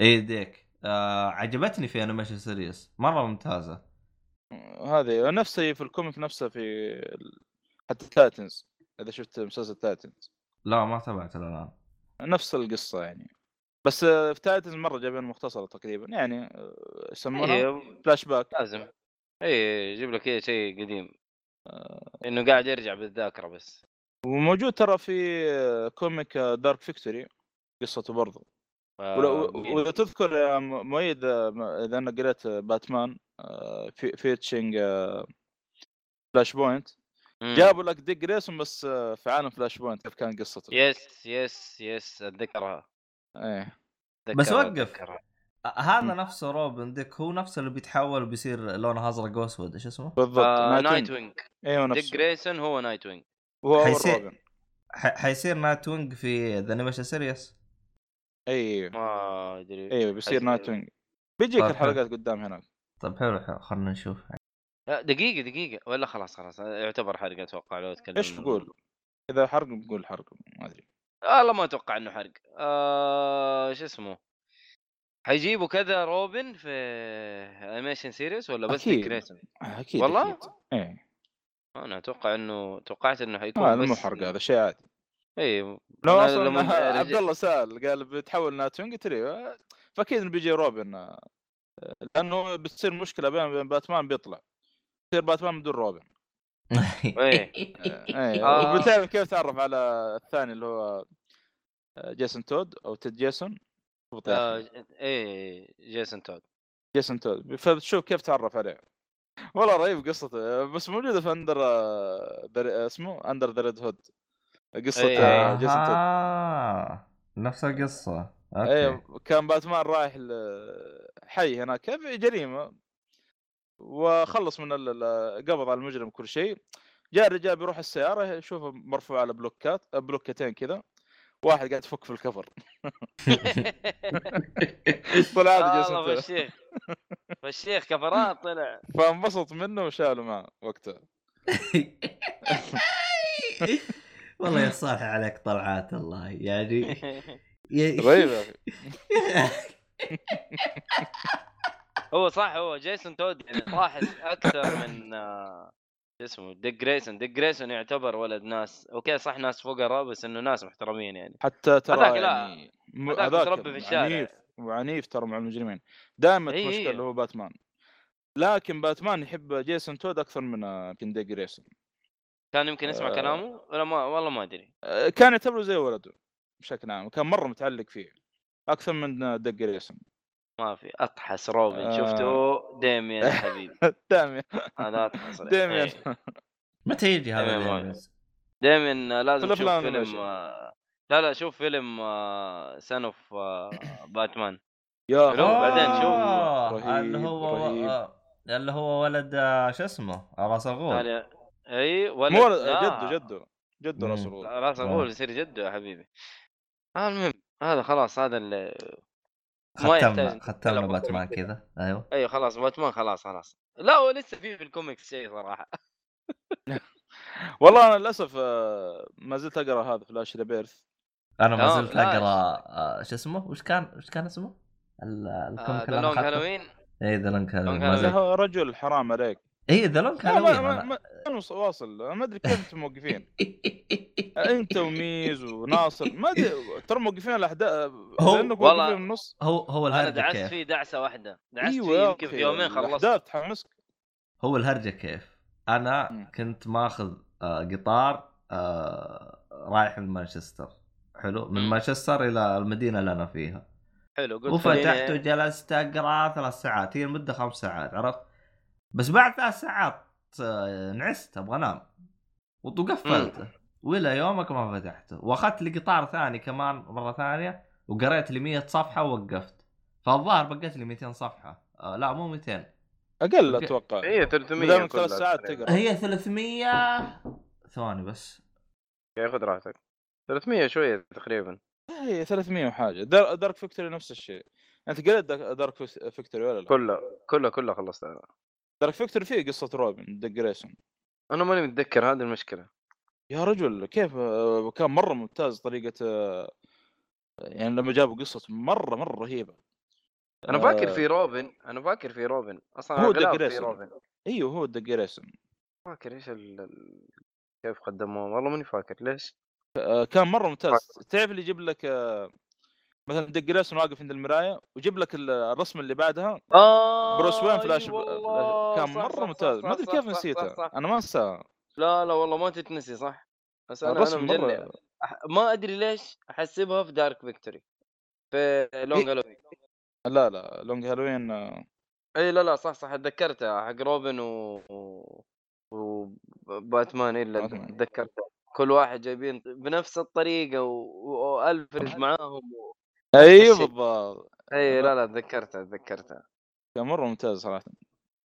اي إيه، ديك آه عجبتني في انيميشن سيريس مره ممتازه
هذه نفسها في الكوميك نفسها في ال- حتى تايتنز اذا شفت مسلسل تايتنز
لا ما تابعت إلى الان
نفس القصه يعني بس آه، في تايتنز مره جايبين مختصره تقريبا يعني آه، يسمونها
إيه،
فلاش باك
لازم اي يجيب لك إيه شيء قديم
آه.
انه قاعد يرجع بالذاكره بس
وموجود ترى في آه، كوميك آه، دارك فيكتوري قصته برضه
آه،
ولو
مين؟
ولو تذكر يا م- مؤيد آه، م- اذا انا قريت آه، باتمان آه، في فيتشنج آه، فلاش بوينت
مم.
جابوا لك ديك جريسون بس آه، في عالم فلاش بوينت كيف كان قصته
يس يس يس اتذكرها آه،
ايه
بس
أتذكرها،
وقف.
أتذكرها.
آه، هذا نفسه روبن ديك هو نفسه اللي بيتحول وبيصير لونه ازرق واسود ايش اسمه؟
بالضبط
آه،
نايت
نايت
وينج.
وينج
ايوه
ديك
نفسه
جريسون هو نايت وينج
هو أول
حيصير-
روبن
ح- حيصير نايت وينج في ذا انيميشن سيريس
ايوه
ما ادري
ايوه بيصير
حيصير.
نايت وينج بيجيك
طيب،
الحلقات قدام هناك
طب طيب، حلو حلو خلنا نشوف
لا، دقيقه دقيقه ولا خلاص خلاص يعتبر حرق اتوقع لو اتكلم
ايش بقول؟ اذا حرق بقول حرق ما ادري
والله آه، ما اتوقع انه حرق آه شو اسمه حيجيبوا كذا روبن في انيميشن سيريس ولا بس
أكيد.
ديك جريسون
آه، اكيد
والله؟
أكيد. ايه
انا اتوقع انه توقعت انه حيكون
آه، هذا
طيب، بس إيه، آه،
مو حرق هذا شيء عادي
اي
لو
أنا
اصلا
لما رجع-
عبد الله سال قال بتحول نايت وينج قلت له آه، فاكيد إنه بيجي روبن آه، لانه بتصير مشكله بين بين باتمان بيطلع بتصير باتمان بدون روبن
إيه.
ايه
آه.
وبتعرف كيف تعرف على الثاني اللي هو آه، جيسون تود او تيد جيسون بالضبط يا
آه،
أخي.
ج- ايه جيسون تود
جيسون تود فبتشوف كيف تعرف عليه والله رهيب قصته آه، بس موجوده في اندر آه، در- اسمه اندر ذا ريد هود قصه
إيه.
آه، جيسون تود
آه نفس القصه اوكي
ايه كان باتمان رايح لحي هناك في جريمه وخلص من ال- ال- قبض على المجرم كل شيء جاء الرجال بيروح السياره يشوفه مرفوع على بلوكات بلوكتين كذا واحد قاعد يفك في الكفر طلع هذا جيسون
والله
تود.
آه، فشيخ فشيخ كفران طلع
فانبسط منه وشاله معه وقتها
والله يا صالح عليك طلعات الله يعني يا-
رهيب يا اخي
هو صح هو جيسون تود يعني تلاحظ اكثر من آه، شو اسمه ديك جريسون ديك جريسون يعتبر ولد ناس اوكي صح ناس فقراء بس انه ناس محترمين يعني
حتى
هذاك
ترى
لا.
يعني م-
هذاك
هذاك يعني
متربي في الشارع.
عنيف وعنيف ترى مع المجرمين دائما
إي إي.
المشكله اللي هو باتمان لكن باتمان يحب جيسون تود اكثر من آه، يمكن ديك جريسون
كان يمكن يسمع
آه.
كلامه ولا ما والله ما ادري
آه، كان يعتبره زي ولده بشكل عام وكان مره متعلق فيه اكثر من آه، ديك جريسون
ما في اطحس روبن شفته
آه.
ديميان حبيبي
داميان
انا اطحس عليه.
داميان
إيه.
متى يجي هذا
تمام،
اليوم؟
دايما آه، لازم
في
تشوف
الأفلام
فيلم
الأشياء.
آه، لا لا شوف فيلم آه، سان اوف باتمان
يا
حلو، بعدين شوف.
آه،
رهيب،
اللي هو
رهيب.
آه، اللي هو ولد آه، شو اسمه آه، راس الغول
ثانية اي إيه، ولا
مو آه، جده
آه.
جده جده
مم.
راس الغول
راس الغول يصير جده يا حبيبي آه المهم هذا خلاص هذا اللي
ختمنا
ما يحتاج
ختمنا
نتكلم أكثر
باتمان
من كده.
كذا ايوه
ايوه خلاص باتمان خلاص خلاص لا هو لسه في في الكوميكس شيء صراحه
والله انا للاسف آه، ما زلت اقرا هذا فلاش ريبيرث
انا ما
تمام،
زلت
لا،
اقرا آه، شو اسمه وش كان وش كان اسمه؟ ال- الكوميك
ذا لونج هالوين
اي ذا لونج
لونج
هالوين ما
هالوين.
زلت- إيه،
يا رجل حرام عليك
اي ذا لونج
لا، ما- ما
هالوين
ما كانوا واصل أنا ما ادري كيف انتم موقفين
أنا-
انت وميز وناصر ما ادري ترى موقفين الاحداث
هو-
لانكم
والله-
موقفين في النص
هو هو
انا
الهرجه
دعست
كيف
فيه دعسه واحده دعست
أيوة يا
فيه يمكن في
أخي،
يومين خلصت
الاحداث تحمسك
هو الهرجه كيف انا
مم.
كنت ماخذ آه، قطار آه، رايح لمانشستر حلو من
مم.
مانشستر الى المدينه اللي انا فيها
حلو قلت
وفتحت
خليني-
وجلست اقرا ثلاث ساعات هي المده خمس ساعات عرفت بس بعد ثلاث ساعات آه، نعست ابغى انام وقفلته والى يومك ما فتحته واخذت لي قطار ثاني كمان مره ثانيه وقريت لي 100 صفحه ووقفت فالظاهر بقيت لي 200 صفحه آه لا مو 200
اقل
أوكي.
اتوقع
هي
دائما
300
ثلاث
إيه، كلها
ساعات
تقريباً.
تقرا
هي 300 ثواني بس
يا خذ راحتك 300 شويه تقريبا
إيه، هي 300 وحاجه دار- دارك فيكتوري نفس الشيء انت قريت دا- دارك فيك- فيكتوري ولا لا؟
كلها كلها كلها خلصتها
دارك فيكتوري فيه قصه روبن ديك جريسون
انا ماني متذكر هذه المشكله
يا رجل كيف آه، كان مره ممتاز طريقه آه، يعني لما جابوا قصته مره مره رهيبه
انا
آه.
فاكر في روبن انا فاكر في روبن اصلا
هو
أغلب
ديك
في
جريسون.
روبن
ايوه هو ديك جريسون
فاكر ايش ال... ال- كيف قدموه والله ماني فاكر ليش
آه، كان مره ممتاز تعرف اللي يجيب لك آه، مثلا ديك جريسون واقف عند المرايه ويجيب لك ال- الرسمه اللي بعدها
اه
بروس وين فلاش,
أي
فلاش
والله،
كان
صح، صح،
مره
صح،
ممتاز
صح،
ما ادري
صح،
كيف
صح، صح، صح.
نسيته انا ما انساه
لا لا والله ما تتنسي صح بس انا انا
الرسم
مجنن
مره
أح- ما ادري ليش احسبها في دارك فيكتوري في لونج هالوين
لا لا لونج هالوين آه،
اي لا لا صح صح تذكرتها حق روبن و, و... وباتمان الا
باتمان.
تذكرتها كل واحد جايبين بنفس الطريقه و... و- والفرد معاهم و...
ايوه
الشيء.
بالضبط
اي لا لا تذكرتها تذكرتها
كان مره ممتاز صراحه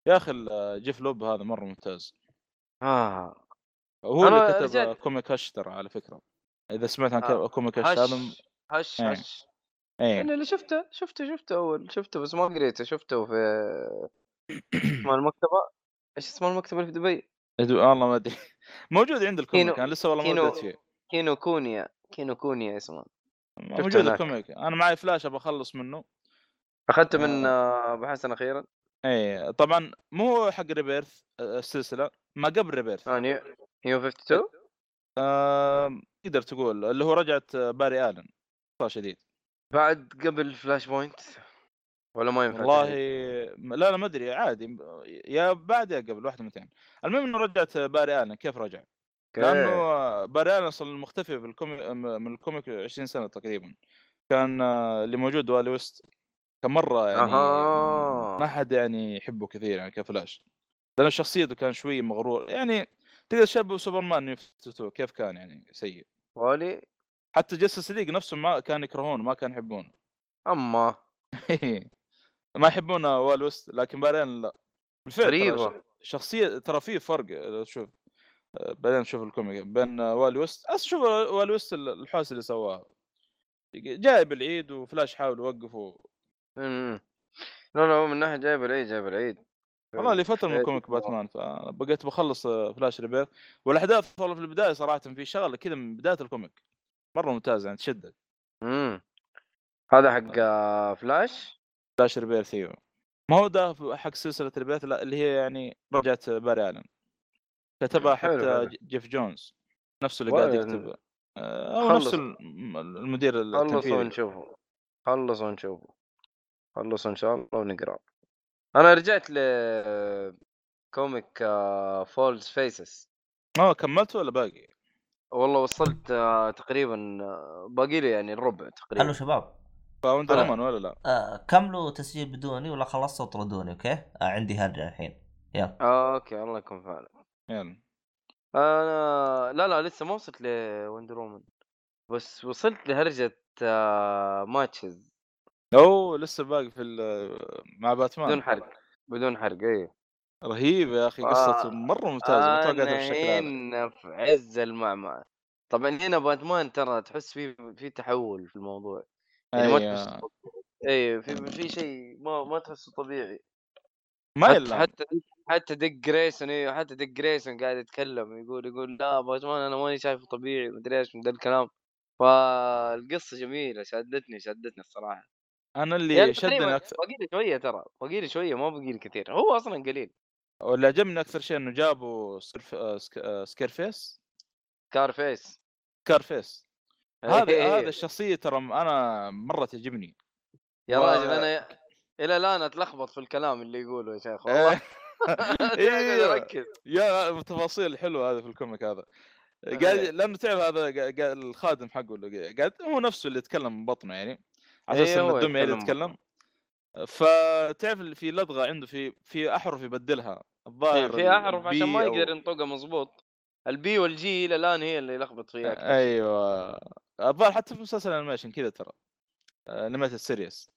يا اخي ال- آه، جيف لوب هذا مره ممتاز
اه
هو اللي
أنا
كتب
رجعت-
آه، كوميك هاش ترى على فكره اذا سمعت عن
آه،
كوميك هاش هذا م-
هش هش
إيه.
هش
ايه
انا اللي شفته شفته شفته اول شفته بس ما قريته شفته في اسمه المكتبه ايش اسمه المكتبه اللي في دبي؟
أدو- والله ما ادري موجود عند الكوميك
كينو-
انا لسه والله ما
كينو-
بدأت فيه
كينو كونيا كينو كونيا اسمه
موجود
هناك.
الكوميك انا معي فلاش ابغى اخلص منه
اخذته من آه، ابو حسن اخيرا
ايه طبعا مو حق ريبيرث آه، السلسله ما قبل ريبيرث
آه، نيو نيو 52
آه، تقدر تقول اللي هو رجعت آه، باري الن صار شديد
بعد قبل فلاش بوينت ولا ما ينفع
والله
تحديد؟
م- لا لا ما ادري عادي يا بعد يا قبل واحده من الاثنين المهم انه رجعت آه، باري الن كيف رجع؟
أوكي.
لانه آه، باري الن اصلا مختفي في الكوميك من الكوميك 20 سنه تقريبا كان آه، اللي موجود والي ويست كان مره يعني
اها
ما حد يعني يحبه كثير يعني كفلاش لان شخصيته كان شوي مغرور يعني تقدر تشبه سوبرمان يفتتوه كيف كان يعني سيء
والي
حتى جاستس ليج نفسه ما كان يكرهونه ما كان يحبونه
اما
ما يحبون وال ويست لكن بعدين لا بالفعل ترى
غريبة.
ش- شخصيه ترى في فرق لو تشوف آه، بعدين شوف الكوميك بين آه، وال ويست اصلا شوف وال ويست ال- الحوسه اللي سواها جاي بالعيد وفلاش حاول يوقفه
أمم. لا لا هو من ناحيه جايب العيد جايب العيد
والله لي فتره من
إيه،
كوميك باتمان فبقيت بخلص آه، فلاش ريبير والاحداث والله في البدايه صراحه في شغله كذا من بدايه الكوميك مره ممتازه يعني تشدك
أمم. هذا حق آه، فلاش
فلاش ريبير ثيو ما هو ده ف- حق سلسله ريبير لا اللي هي يعني رجعت باري الن كتبها
حلو،
حتى
حلو.
ج- جيف جونز نفسه اللي
والله
قاعد
يعني
يكتب آه، او
خلص.
نفس الم- المدير
خلصوا
التنفيذي
ونشوفه خلصوا ونشوفه خلصوا ان شاء الله ونقرا انا رجعت ل آه، كوميك فولز فيسز
اه كملته ولا باقي؟
والله وصلت آه، تقريبا آه، باقي لي يعني الربع
الو
تقريبا
شباب
فاوند
أنا-
رومان ولا لا؟
آه، كملوا تسجيل بدوني ولا خلصتوا طردوني اوكي آه، عندي هرجه الحين يلا
آه، اوكي الله يكون في عونك.
يلا
انا آه، لا لا لسه ما وصلت لوندر وومن بس وصلت لهرجه آه، ماتشز
اوه لسه باقي في ال- مع باتمان
بدون حرق إيه. بدون حرق اي
رهيب يا اخي
آه،
قصته مره ممتازه ما توقعتها
انا
بالشكل هذا
هنا في عز المعمعة طبعا هنا باتمان ترى تحس في في تحول في الموضوع يعني ما
أيوة.
تحس اي في في شيء ما ما تحسه طبيعي
ما
حتى
يلا
حتى حتى ديك جريسون ايوه حتى ديك جريسون قاعد يتكلم يقول يقول لا باتمان انا ماني شايفه طبيعي مدري ايش من ذا الكلام فالقصه جميله شدتني شدتني الصراحه
انا
يعني
اللي إيه، شدني
تقريباً
اكثر
باقي لي شويه ترى باقي لي شويه ما باقي لي كثير هو اصلا قليل
واللي عجبني اكثر شيء انه جابوا سكرف... آه، سك... آه، سكيرفيس
كارفيس
سكارفيس
إيه.
هذا هذا الشخصيه ترى انا مره تعجبني
يا
و-
راجل انا الى الان اتلخبط في الكلام اللي يقوله يا شيخ والله
إيه،
أجل
إيوه.
اركز
يا التفاصيل الحلوه هذه في الكوميك هذا قاعد
إيه.
لانه تعرف هذا قا- قا- الخادم حقه اللي قاعد هو نفسه اللي يتكلم من بطنه يعني على اساس
إيه،
انه
هو
الدميه اللي
يتكلم من
يعني يتكلم فتعرف اللي في لدغه عنده في في احرف يبدلها الظاهر
إيه، في احرف
طيب، البي
عشان ما
أو-
يقدر ينطقها مضبوط البي والجي الى الان هي اللي لخبط فيها أكثر.
ايوه الظاهر حتى في مسلسل الانيميشن كذا ترى آه، انيميتد سيريس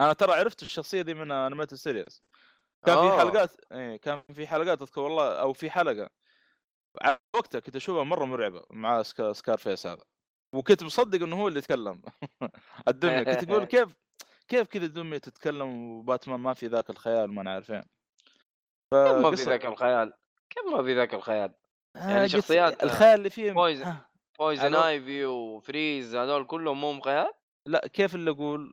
انا ترى عرفت الشخصيه دي من انيميتد سيريس كان في
آه.
حلقات اي كان في حلقات اذكر والله او في حلقه على وقتها كنت اشوفها مره مرعبه مع سكا سكار فيس هذا وكنت مصدق انه هو اللي يتكلم الدميه كنت اقول كيف كيف كذا الدميه تتكلم وباتمان ما في ذاك الخيال ما نعرف فين
كيف ما في
فقصة-
ذاك الخيال كيف ما في ذاك الخيال
آه،
يعني
قصة-
شخصيات-
الخيال اللي فيه
بويز-
آه.
بويزن
هذول-
ايفي وفريز هذول كلهم مو خيال
لا كيف اللي اقول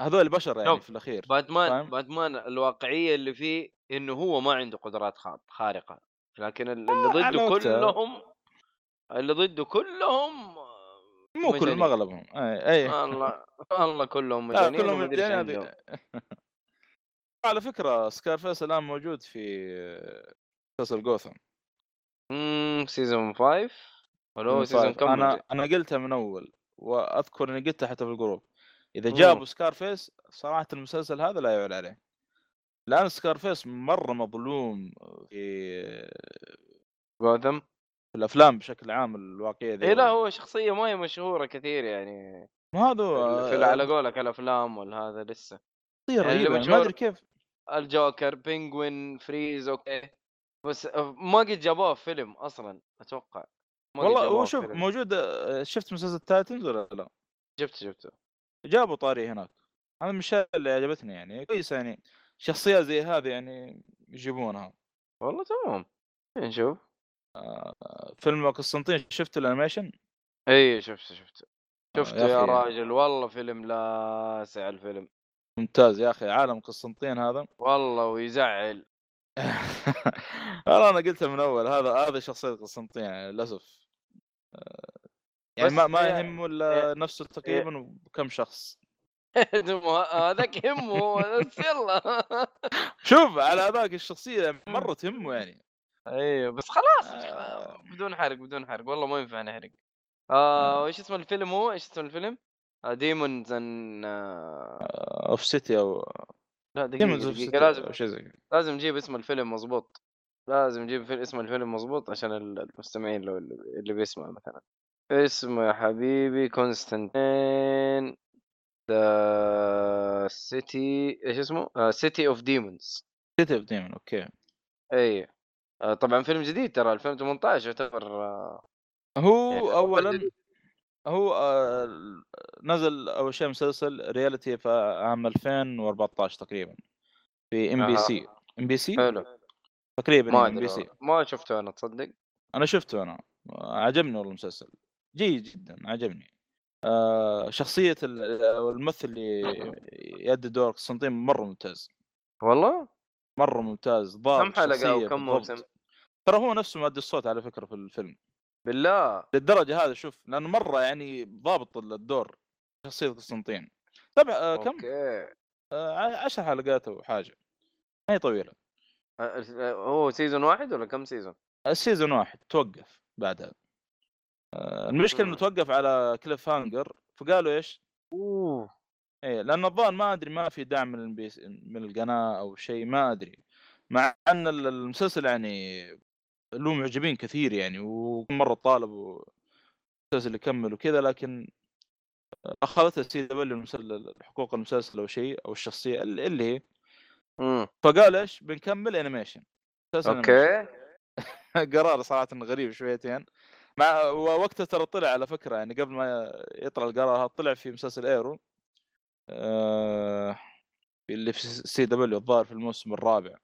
هذول بشر يعني
شوف،
في الاخير
باتمان
فاهم؟
باتمان الواقعيه اللي فيه انه هو ما عنده قدرات خا- خارقه لكن ال- اللي
على
ضده
وقتها.
كلهم اللي ضده كلهم
مو
مجانين.
كلهم إيه، اغلبهم اي
آه.
اي
الله الله كلهم
لا،
مجانين
آه، كلهم
وما أدري إيش
مجانين
عندهم.
هذي. على فكره سكارفيس الان موجود في مسلسل جوثم
امم سيزون 5 ولا هو
من
سيزون
فايف.
كم
انا انا قلتها من اول واذكر اني قلتها حتى في الجروب اذا
مم.
جابوا سكارفيس صراحه المسلسل هذا لا يعلى عليه لان سكارفيس مره مظلوم في
جوثم
في الافلام بشكل عام الواقعيه ذي
اي إيه، لا هو شخصيه ما هي مشهوره كثير يعني
ما هذا
في على قولك الافلام والهذا لسه
شخصيه
يعني اللي
رهيبه أنا ما
مشهور-
ادري كيف
الجوكر بينجوين فريز اوكي بس آه، ما قد جابوه في فيلم اصلا اتوقع ما قد
والله
جابوه
هو
في
شوف
فيلم.
موجود آه، شفت مسلسل تايتنز ولا لا؟
جبته جبته
جابوا طاري هناك هذا من الاشياء اللي عجبتني يعني كويس يعني شخصيه زي هذه يعني يجيبونها
والله تمام يعني نشوف
فيلم قسطنطين شفت الانيميشن؟
اي شفته شفته
إيه. آه،
شفته
يا
يا,
أخي.
راجل والله فيلم لاسع الفيلم
ممتاز يا اخي عالم قسطنطين هذا
والله ويزعل
والله انا قلتها من اول هذا هذا شخصيه قسطنطين يعني للاسف آه، يعني ما
بس
ما
يا-
يهمه الا نفسه تقريبا وكم شخص
هذاك يهمه بس يلا
شوف على ذاك الشخصيه مره تهمه يعني
ايوه بس خلاص
آه.
بدون حرق بدون حرق والله ما ينفع نحرق آه وايش اسم الفيلم هو ايش اسم الفيلم؟ آه، ديمونز ان
اوف سيتي او
آه، لا دقيقة,
ديمونز اوف سيتي
دقيقة لازم
او شيء زي كذا
لازم نجيب اسم الفيلم مظبوط لازم نجيب في- اسم الفيلم مظبوط عشان ال- المستمعين لو اللي بيسمع مثلا اسمه يا حبيبي كونستانتين ذا سيتي ايش اسمه؟ آه، سيتي اوف ديمونز
سيتي اوف ديمون اوكي
اي آه، طبعا فيلم جديد ترى 2018 يعتبر آه،
هو
يعني
اولا
جديد.
هو آه، نزل اول شيء مسلسل رياليتي في عام 2014 تقريبا في ام بي
أها.
سي ام بي سي
حلو
تقريبا
ما
ام
ادري
بي سي
والله. ما شفته انا تصدق
انا شفته انا عجبني والله المسلسل جيد جدا عجبني آه، شخصية ال- آه، الممثل اللي يأدي دور قسطنطين مرة ممتاز
والله
مرة ممتاز ضابط
كم حلقه
شخصية
او كم
بالضبط.
موسم
ترى هو نفسه مؤدي الصوت على فكرة في الفيلم
بالله
للدرجة هذا شوف لأنه مرة يعني ضابط الدور شخصية قسطنطين طبعا آه، كم
اوكي
آه، ع- عشر حلقات او حاجه ما هي طويله
آه، آه، هو سيزون واحد ولا كم سيزون؟
السيزون واحد توقف بعدها آه، المشكله انه
مم.
توقف على كليف هانجر فقالوا ايش؟
اوه
ايه لان الظاهر ما ادري ما في دعم من البي... من القناه او شيء ما ادري مع ان ال- المسلسل يعني له معجبين كثير يعني ومره طالبوا المسلسل يكمل وكذا لكن اخذتها سي دبليو المسلسل حقوق المسلسل او شيء او الشخصيه اللي اللي هي
امم
فقال ايش بنكمل انيميشن أساساً أنا
اوكي
قرار صراحه غريب شويتين مع ووقتها ترى طلع على فكره يعني قبل ما يطلع القرار هذا طلع في مسلسل ايرو آه، اللي في سي دبليو الظاهر في الموسم الرابع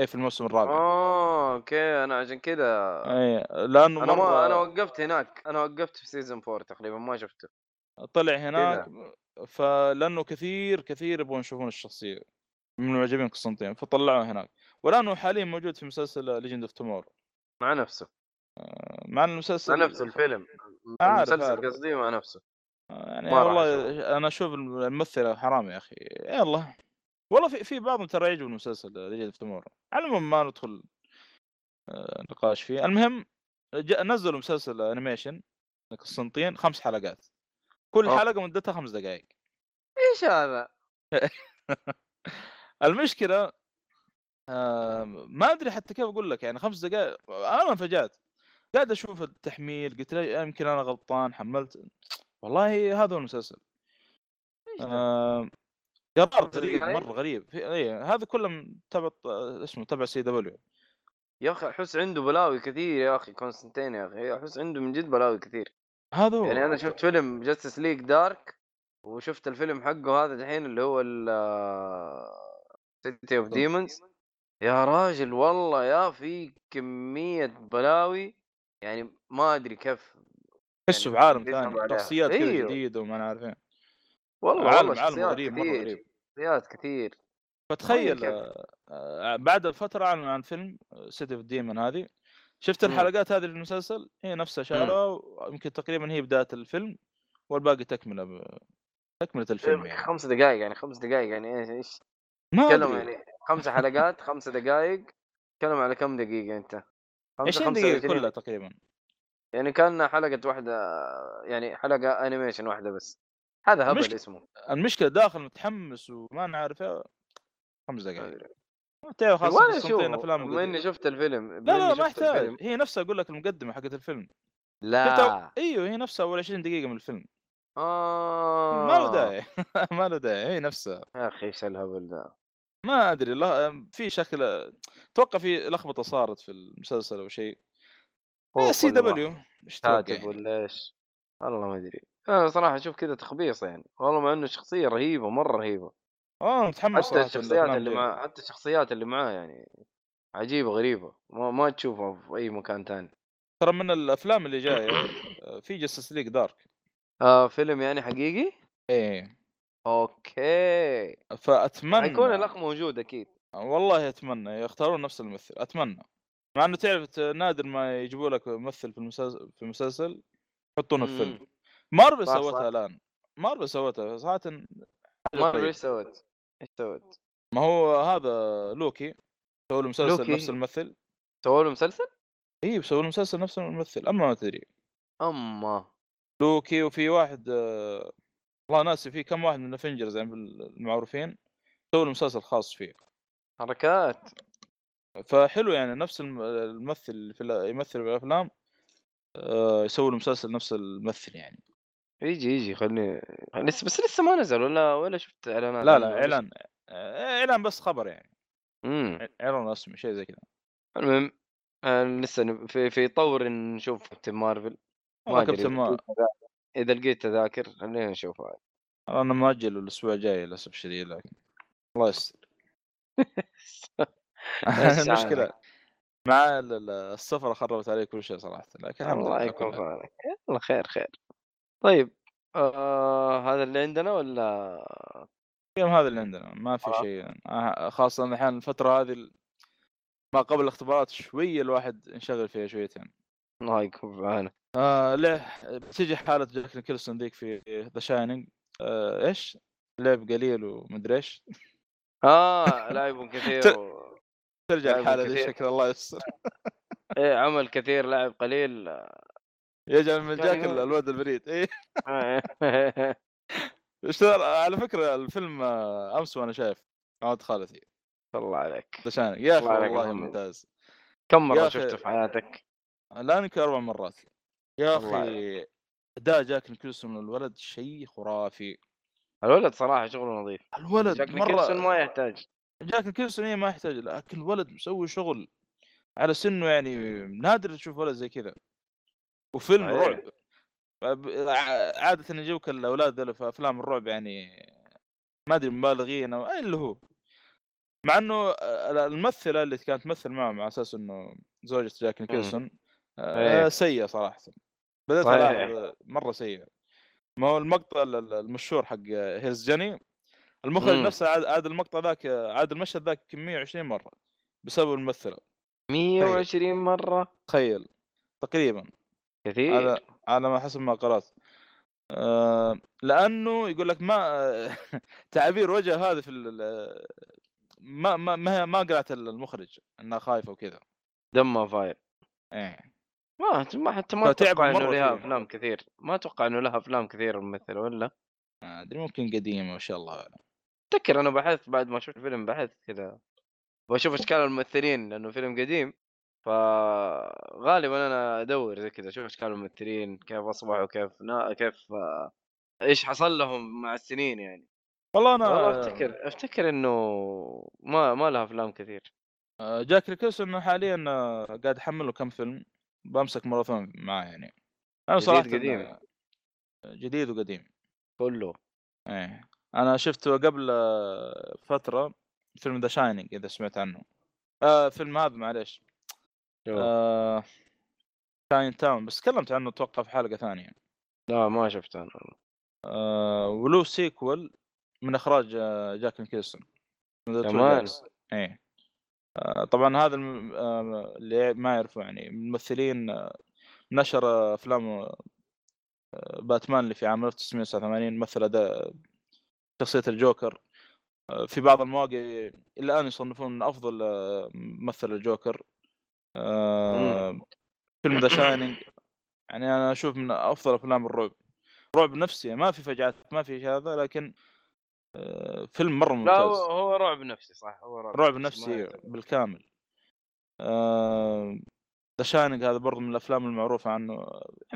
اي في الموسم الرابع
اه اوكي انا عشان كذا
اي لانه
انا آه. ما انا
مرة
وقفت هناك انا وقفت في سيزون 4 تقريبا ما شفته
طلع
إيه،
هناك
نعم.
فلانه كثير كثير يبغون يشوفون الشخصيه من معجبين قسطنطين فطلعوه هناك ولانه حاليا موجود في مسلسل ليجند اوف تومور
مع نفسه
مع إن المسلسل
مع نفس الفيلم
عارف،
المسلسل
عارف.
قصدي مع نفسه
يعني
ما راح
والله انا اشوف الممثله حرام يا اخي يلا والله في في بعضهم ترى يعجبه المسلسل ليجند اوف تومورو على العموم ما ندخل آه، نقاش فيه المهم جاء- نزلوا مسلسل انيميشن قسطنطين خمس حلقات كل
أوه.
حلقه مدتها خمس دقائق
ايش هذا؟
المشكله آه، ما ادري حتى كيف اقول لك يعني خمس دقائق انا انفجأت قاعد اشوف التحميل قلت لا يمكن انا غلطان حملت والله هذا هو المسلسل
إيش ذا؟
آه، قرار
خمس
غريب
دقايق؟
مره غريب في... اي هذا كله تبع اسمه تبع سي دبليو
يا اخي احس عنده بلاوي كثير يا اخي كونستانتين يا اخي احس عنده من جد بلاوي كثير
هذا هو
يعني انا شفت فيلم جاستس ليج دارك وشفت الفيلم حقه هذا الحين اللي هو سيتي اوف ديمونز يا راجل والله يا في كميه بلاوي يعني ما ادري كيف
تحسه في
يعني
عالم
بيسحب
ثاني
عليها.
شخصيات كذا
أيوه.
جديده وما أنا عارف إيه.
والله
عالم
والله
عالم
شخصيات
غريب مره
كثير
غريب
شخصيات كثير
فتخيل
كيف.
آه، آه، بعد فتره اعلن عن فيلم آه، سيتي اوف ديمون هذه شفت
مم.
الحلقات هذه للمسلسل هي نفسها شالوها يمكن تقريبا هي بدايه الفيلم والباقي تكمله ب... تكمله
طيب،
الفيلم يعني
خمس دقائق يعني خمس دقائق يعني ايش ايش
ما
تكلم
أدري.
يعني خمس حلقات خمس دقائق تكلم على كم دقيقة أنت؟ خمسة-
20 دقيقه
25
كلها تقريبا
يعني كان حلقة واحدة يعني حلقة أنيميشن واحدة بس هذا
مش-
هبل اسمه
المشكله داخل متحمس وما انا عارف إيه. خمس
ما
دقائق
أدري.
تعرف خاصه
ولا
قسطنطين
أشوفه
افلامه
بما
قديمة.
إني شفت الفيلم بما
لا لا
إني
ما
شفت
يحتاج
الفيلم. آه.
هي نفسها اقول لك المقدمه حقت الفيلم
لا
ايوه هي نفسها اول 20 دقيقه من الفيلم
آه
ما له داعي إيه، ما له داعي هي نفسها
يا أخي إيش الهبل ده
ما ادري لا في شكل اتوقع في لخبطه صارت في المسلسل او شيء إيه،
خوف
سي
ولا
دبليو ايش تتوقع
كاتب
يعني؟
ولا إيش والله ما أدري أنا صراحة أشوف كذا تخبيص يعني والله مع إنه شخصية رهيبة مرة رهيبة
اه متحمس
حتى
صراحة
الشخصيات
للأفلام
اللي
دي.
مع حتى الشخصيات اللي معاه يعني عجيبة غريبة ما, ما تشوفها في أي مكان ثاني
ترى من الافلام اللي جايه آه، في جاستس ليج دارك
آه فيلم يعني حقيقي؟
ايه
اوكي
فاتمنى
حيكون الاخ موجود اكيد
والله اتمنى يختارون نفس الممثل اتمنى مع انه تعرف ت- نادر ما يجيبوا لك ممثل في المسلسل في المسلسل يحطونه في فيلم
مم.
مارفل
امم. صح، صح.
سوتها الان مارفل سوتها صراحه حاجة
ما ادري
طيبة.
ايش سوت ايش سوت
ما هو هذا لوكي سووا له مسلسل
لوكي.
نفس الممثل
سووا له مسلسل؟
اي سووا له مسلسل نفس الممثل اما ما تدري
اما
لوكي وفي واحد آه، والله ناسي في كم واحد من الافنجرز يعني بال- المعروفين سووا له مسلسل خاص فيه
حركات
فحلو يعني نفس الم- الممثل اللي في ال- يمثل في الافلام آه، يسوي له مسلسل نفس الممثل يعني يجي
يجي خلني لسه بس لسه ما نزل ولا ولا شفت اعلانات
لا
عنه
لا
ولا شيء.
اعلان آه، اعلان بس خبر يعني
امم
اعلان رسمي شيء زي كذا
المهم آه، لسه نب- في في طور إن نشوف كابتن مارفل ما
والله
ادري
كابتن
إذا
ما
لقيت تذا- اذا لقيت تذاكر خلينا نشوف عاد.
انا ماجل الاسبوع الجاي للاسف الشديد لكن الله يستر
إيش
المشكله مع ال- ال- السفر خربت علي كل شيء صراحه لكن الحمد لله
الله
على
يكون
كل
في
حال.
عونك يلا خير خير طيب آه هذا اللي عندنا ولا
اليوم هذا اللي عندنا ما في
خلاص.
شيء آه، خاصه الحين الفتره هذه ال- ما قبل الاختبارات شويه الواحد انشغل فيها شويتين
الله يكون في عونك
آه له بتجي حاله جاك نيكلسون ذيك في ذا شاينينج آه ايش؟ لعب قليل ومدري ايش
اه لاعب كثير و...
ترجع
لعب
الحاله ذي
كثير.
شكل الله يستر
ايه عمل كثير لاعب قليل
يجعل من
كان
جاك
يقول-
الواد البريد إيه. اي
آه.
على فكره الفيلم آه، امس وانا شايف عاد خالتي
الله عليك
ذا شاينينج يا اخي
الله عليك يا
والله
محمد.
ممتاز
كم
يا
مره
أخي.
شفته في حياتك
الان يمكن اربع مرات يا
الله
اخي اداء جاك نيكلسون الولد شيء خرافي
الولد صراحه شغله نظيف
الولد
جاك نيكلسون
مره
ما يحتاج
جاك نيكلسون إيه ما يحتاج لكن الولد مسوي شغل على سنه يعني نادر تشوف ولد زي كذا وفيلم
صحيح.
رعب فب- ع- عاده يجوك الاولاد ذول في افلام الرعب يعني ما ادري مبالغين او أي اللي هو مع انه ال- الممثله اللي كانت تمثل معه مع اساس انه زوجة جاك نيكلسون آه
إيه.
سيئه صراحه بدات
صحيح.
ألاحظ مره سيئه ما هو المقطع ال- ال- المشهور حق هيرز جاني المخرج
مم.
نفسه عاد, عاد المقطع ذاك عاد المشهد ذاك 120 مره بسبب الممثله
120 مره
تخيل تقريبا
كثير
على على ما حسب ما قرات آه لانه يقول لك ما تعابير وجه هذا في ال- ال- ما ما ما, ما قرأت المخرج انها خايفه وكذا
دمه فاير
ايه
ما ما حتى ما
فتعب
اتوقع
مرة
انه لها
فيها.
افلام كثير ما اتوقع انه لها افلام كثير الممثله ولا
ما ادري ممكن قديمه ما شاء الله اعلم
افتكر انا بحثت بعد ما شفت الفيلم بحثت كذا بشوف اشكال الممثلين لانه فيلم قديم فغالبا انا ادور زي كذا اشوف اشكال الممثلين كيف اصبحوا كيف نا... كيف آه، ايش حصل لهم مع السنين يعني
والله انا
والله افتكر افتكر انه ما ما لها افلام كثير
آه، جاك ريكلسون حاليا آه، قاعد احمله كم فيلم بمسك ماراثون معاه يعني انا
جديد
صراحه
قديم.
آه، جديد وقديم
كله
ايه انا شفته قبل آه، فتره فيلم ذا شاينينج اذا سمعت عنه آه فيلم هذا معليش
شوف.
آه شاين تاون بس تكلمت عنه اتوقع في حلقه ثانيه
لا ما شفته انا
آه ولو سيكول من اخراج آه، جاك نيكلسون
كمان؟
ايه آه، طبعا هذا الم... آه، اللي ما يعرفه يعني من الممثلين آه، نشر آه، افلام آه، باتمان اللي في عام 1989 مثل اداء شخصيه الجوكر آه، في بعض المواقع الى الان يصنفون من افضل آه، ممثل الجوكر آه، فيلم ذا شاينينج يعني انا اشوف من افضل افلام الرعب رعب نفسي ما في فجعات ما في شيء هذا لكن آه، فيلم مره
لا
ممتاز
هو, هو رعب نفسي صح هو رعب
رعب
ما
نفسي آه.
يعتبر.
بالكامل ذا شاينينج هذا برضه من الافلام المعروفه عنه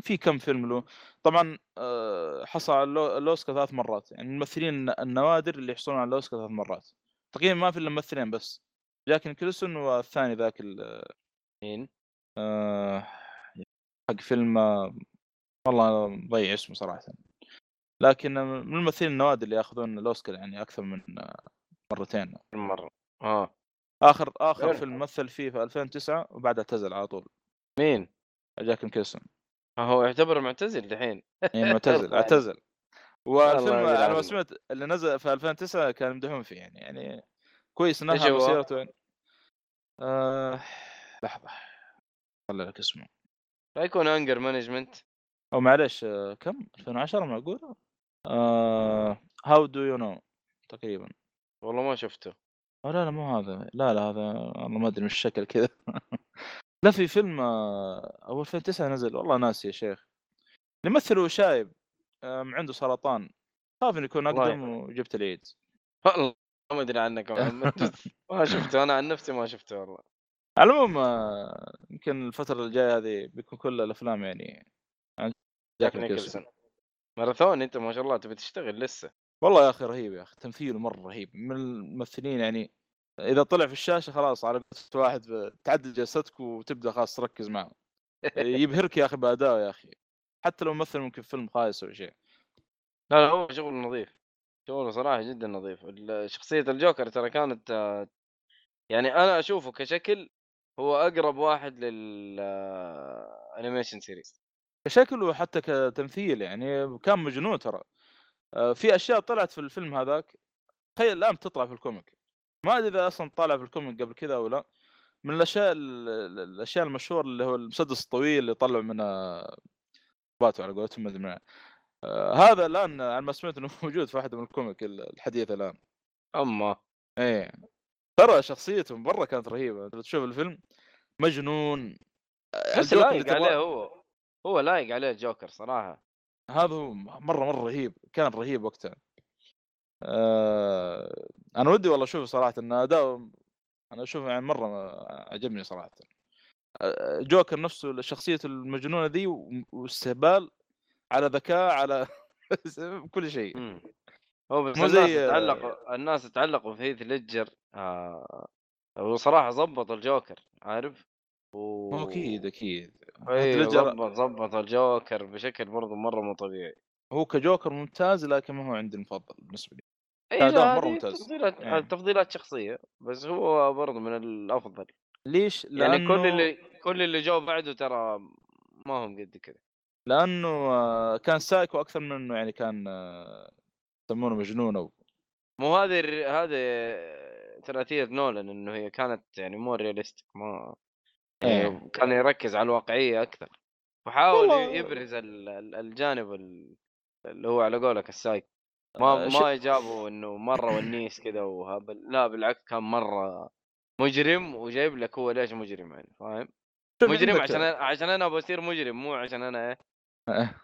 في كم فيلم له طبعا آه، حصل على اللو- الأوسكار ثلاث مرات يعني الممثلين النوادر اللي يحصلون على الأوسكار ثلاث مرات تقريبا ما في الا ممثلين بس جاك نيكلسون والثاني ذاك ال-
مين؟
آه، حق فيلم آه، والله مضيع اسمه صراحه لكن من الممثلين النوادر اللي ياخذون الاوسكار يعني اكثر من آه، مرتين
مره اه
اخر اخر
غير-
فيلم مثل فيه في 2009 وبعدها اعتزل على طول
مين؟ آه،
جاك نيكلسون
هو يعتبر معتزل الحين
يعني معتزل
الله يعينك.
اعتزل والفيلم
يجعل
على ما
عمرك.
سمعت اللي نزل في 2009 كان يمدحون فيه يعني يعني كويس انها
إيش هو؟
مسيرته يعني. آه... لحظه خلي لك اسمه
لا يكون انجر مانجمنت
او معلش آه، كم 2010 معقوله؟ آه، هاو دو يو نو تقريبا
والله ما شفته
أو آه، لا لا مو هذا لا لا هذا والله ما ادري من الشكل كذا لا في فيلم آه، او 2009 نزل والله ناسي يا شيخ اللي مثله شايب آم، عنده سرطان خاف انه يكون
الله
اقدم وجبت الايدز
والله ما ادري عنك يا محمد ما شفته انا عن نفسي ما شفته والله
على العموم آه، يمكن الفتره الجايه هذه بيكون كل الافلام يعني عن
جاك نيكلسون ماراثون انت ما شاء الله تبي تشتغل لسه
والله يا اخي رهيب يا اخي تمثيله مره رهيب من الممثلين يعني اذا طلع في الشاشه خلاص على قصة واحد تعدل جلستك وتبدا خلاص تركز معه يبهرك يا اخي بادائه يا اخي حتى لو مثل ممكن فيلم خايس او شيء
لا لا هو شغل نظيف شغله صراحه جدا نظيف ال- شخصيه الجوكر ترى كانت آه، يعني انا اشوفه كشكل هو اقرب واحد آه، للانيميشن سيريز
كشكل وحتى كتمثيل يعني كان مجنون ترى آه، في اشياء طلعت في الفيلم هذاك تخيل الان تطلع في الكوميك ما ادري اذا اصلا طالع في الكوميك قبل كذا او لا من الاشياء ال- ال- الاشياء المشهوره اللي هو المسدس الطويل اللي طلع من آه، باتو على قولتهم ما ادري من- آه، هذا الان على ما سمعت انه موجود في واحده من الكوميك ال- الحديثه الان
اما
ايه ترى شخصيته مره كانت رهيبه انت تشوف الفيلم مجنون آه،
بس
الجوكر
لايق
اللي تبغاه-
عليه هو هو لايق عليه الجوكر صراحه
هذا هو مره مره رهيب كان رهيب وقتها آه انا ودي والله اشوفه صراحه ان اداؤه انا اشوفه يعني مره عجبني صراحه آه، جوكر نفسه شخصيته المجنونه ذي و- واستهبال على ذكاء على كل شيء
مم. إمم. هو بس
مو
الناس
زي-
تعلقوا الناس تعلقوا في هيث ليدجر آه وصراحه ظبط الجوكر عارف
هو اكيد اكيد
أيوة،
ليدجر-
ظبط ظبط الجوكر بشكل برضه مره مو طبيعي
هو كجوكر ممتاز لكن ما هو عندي المفضل بالنسبه لي
اي
أداء
إيه، لا
مرة
هذه
ممتاز.
تفضيلات
إيه.
تفضيلات شخصيه بس هو برضه من الافضل
ليش؟
يعني
لأنه...
كل اللي كل اللي جو بعده ترى ما هم قد كذا
لانه آه، كان سايكو اكثر من انه يعني كان آه، يسمونه مجنون او
مو هذه الر- هذه ثلاثيه نولان انه هي كانت يعني مو رياليستيك ما
إيه.
يعني كان يركز على الواقعيه اكثر وحاول
والله-
يبرز ال- ال- الجانب ال- اللي هو على قولك السايك
آه،
ما
ش-
ما جابوا انه مره ونيس كذا وهبل لا بالعكس كان مره مجرم وجايب لك هو ليش مجرم يعني فاهم؟
شوف
مجرم
عندك-
عشان أنا- عشان انا بصير مجرم مو عشان انا ايه
آه،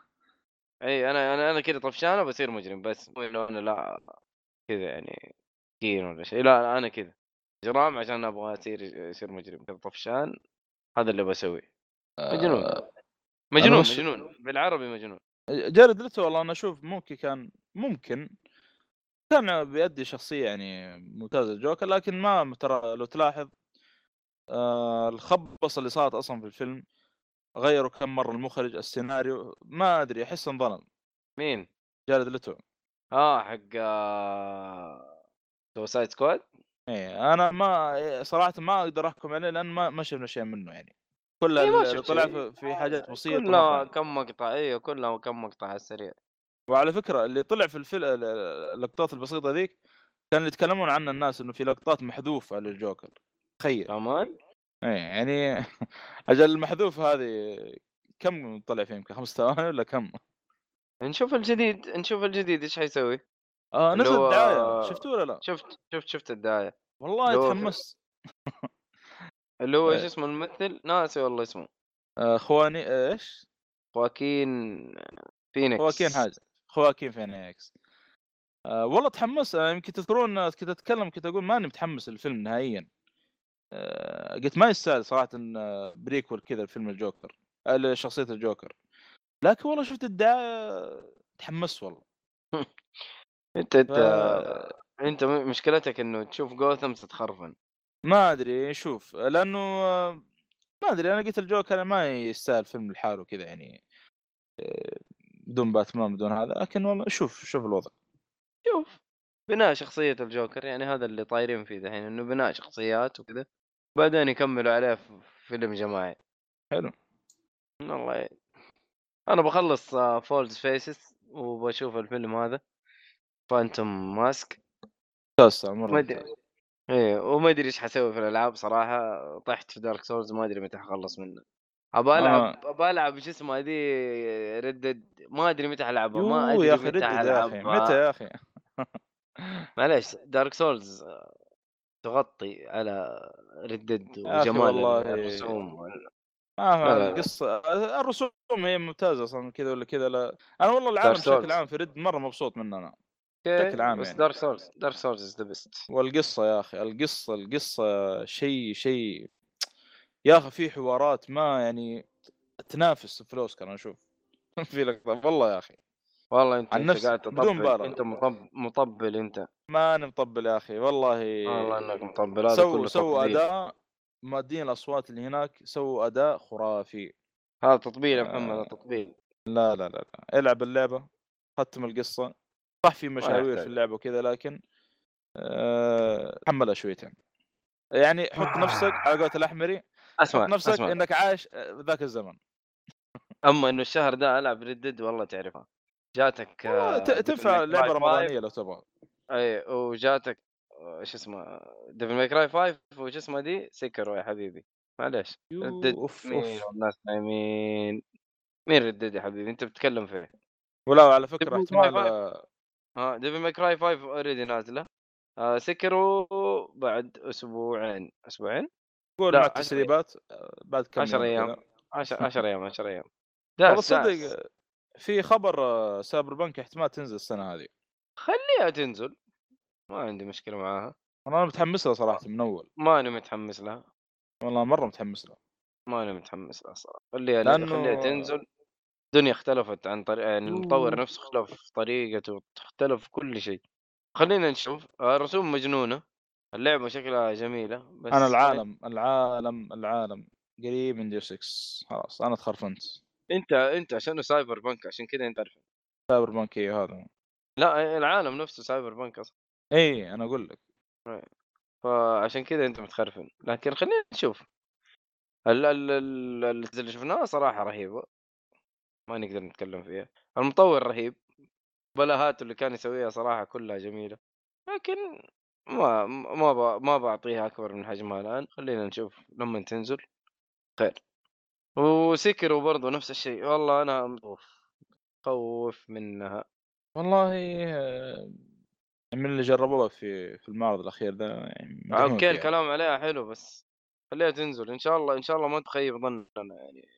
اي انا انا انا كذا طفشان بصير مجرم بس مو انه انا لا كذا يعني مسكين ولا شيء لا انا كذا جرام عشان ابغى اصير اصير مجرم كذا طفشان هذا اللي بسويه مجنون مجنون
مش-
مجنون بالعربي مجنون
جارد ليتو والله انا اشوف ممكن كان ممكن كان بيأدي شخصيه يعني ممتازه الجوكر لكن ما ترى لو تلاحظ آه الخبص اللي صارت اصلا في الفيلم غيروا كم مره المخرج السيناريو ما ادري احس انظلم
مين؟
جارد ليتو
اه حق آه، سوسايد سكواد
ايه انا ما صراحه ما اقدر احكم عليه لان ما ما شفنا شيء منه يعني كل
إيه، ما
اللي
شفت
طلع
شيء.
في- في حاجات بسيطه
كلها
مرة.
كم مقطع ايوه كلها كم مقطع على السريع
وعلى فكره اللي طلع في الفيلم اللقطات البسيطه ذيك كانوا يتكلمون عنها الناس انه في لقطات محذوفه للجوكر تخيل
كمان
ايه يعني اجل المحذوف هذه كم طلع فيه يمكن خمس ثواني ولا كم؟
نشوف الجديد نشوف الجديد ايش حيسوي
اه
اللي
نزل
هو-
الدعايه شفتوه ولا لا؟
شفت شفت شفت الدعايه
والله
اللي هو-
تحمست
اللي هو ايش
إيه.
اسمه الممثل ناسي والله اسمه
آه، خواني آه، ايش؟
خواكين فينيكس
خواكين حاجه خواكين فينيكس آه والله تحمس آه، يمكن تذكرون آه، كنت اتكلم كنت اقول ماني متحمس للفيلم نهائيا آه قلت ما يستاهل صراحه إن، آه، بريكول كذا الفيلم الجوكر آه، شخصيه الجوكر لكن والله شفت الدعايه تحمس والله
انت انت
ف-
انت م- مشكلتك انه تشوف جوثم تتخرفن
ما ادري شوف لانه آه، ما ادري انا قلت الجوكر ما يستاهل فيلم لحاله كذا يعني آه، بدون باتمان بدون هذا لكن والله شوف شوف الوضع
شوف بناء شخصية الجوكر يعني هذا اللي طايرين فيه دحين انه بناء شخصيات وكذا بعدين يكملوا عليه في فيلم جماعي
حلو.
الله يعين انا بخلص فولز فيسز وبشوف الفيلم هذا فانتوم ماسك
ممتاز مره
ما ادري
ممتاز.
ايه وما ادري ايش حسوي في الالعاب صراحة طحت في دارك سولز ما ادري متى حخلص منه ابى العب
آه.
ابى العب شو اسمه هذه ردد ما ادري متى حلعبها ما
يوه
ادري
يا اخي
متى
ردد يا اخي
حلعبها
متى يا اخي
معليش دارك سولز تغطي على ردد
يا أخي
وجمال
والله-
الرسوم وال-
ما
لا، لا.
هو القصه الرسوم هي ممتازه اصلا كذا ولا كذا لا انا والله العالم
Dark Souls.
بشكل عام في رد مره مبسوط منه انا بشكل عام
إيه، بس
يعني.
دارك سولز دارك سولز از ذا بيست
والقصه يا اخي القصه القصه شيء شيء يا اخي في حوارات ما يعني تنافس في الاوسكار انا اشوف في لقطه والله يا اخي
والله انت,
عن
انت
نفس-
قاعد
بدون
تطبل
مباراة.
انت مطب... مطبل انت
ما انا مطبل يا اخي والله
والله انك مطبل هذا
إيه. سووا
كله
سووا
تطبيل.
اداء مادين الاصوات اللي هناك سووا اداء خرافي
هذا تطبيل يا محمد
آه.
هذا تطبيل
لا لا لا, لا. العب اللعبه ختم القصه صح في مشاوير
يحتاج.
في اللعبه وكذا لكن آه، تحملها شويتين يعني حط نفسك على قولة الاحمري
اسمع
حط نفسك
اسمع
انك عايش آه، ذاك الزمن
اما انه الشهر ده العب ردد والله تعرفها جاتك آه،
والله ت-
Devil
تنفع
May Cry
لعبه
5.
رمضانيه لو تبغى
اي وجاتك آه، شو اسمه ديفل ماي كراي 5 وش اسمه دي سكروا يا حبيبي معليش
يو،
ردد
أوف،
مين
أوف.
والناس نايمين مين ردد يا حبيبي انت بتتكلم فيه
ولو على فكره
Devil May
احتمال
Cry.
آه،
ها ديفل ماي كراي 5 اوريدي نازله آه سكروا بعد اسبوعين اسبوعين
قول
لا،
مع
عشر أيام.
التسريبات آه، بعد كم
10
يوم
أيام.
كذا.
10 10 ايام 10 ايام
والله
داس داس
صدق آه، في خبر آه، سايبر بنك احتمال تنزل السنه هذه
خليها تنزل ما عندي مشكله معاها
انا متحمس لها صراحه من اول
ماني متحمس لها
والله مره متحمس لها
ماني متحمس لها صراحه خليها
لأنه-
خليها تنزل الدنيا اختلفت عن طريق يعني المطور
يوه.
نفسه اختلف طريقته اختلف كل شيء خلينا نشوف آه، رسوم مجنونه اللعبه شكلها جميله بس طيب.
انا العالم العالم العالم قريب من دير 6 خلاص انا تخرفنت
انت انت عشانه سايبر بنك عشان كذا انت عارف
سايبر بانك إيه هذا
لا العالم نفسه سايبر بنك اصلا
اي انا اقول إيه، لك
فعشان كذا انت متخرفن لكن خلينا نشوف ال- ال- ال- ال- اللي شفناه صراحه رهيبه ما نقدر نتكلم فيها المطور رهيب بلاهاته اللي كان يسويها صراحه كلها جميله لكن ما ما ب- ما بعطيها اكبر من حجمها الان خلينا نشوف لما تنزل خير وسكروا برضو نفس الشيء والله انا مطوف خوف منها
والله آه، من اللي جربوه في في المعرض الاخير ده يعني مدحوك
اوكي
يعني.
الكلام عليها حلو بس خليها تنزل ان شاء الله ان شاء الله ما تخيب ظننا يعني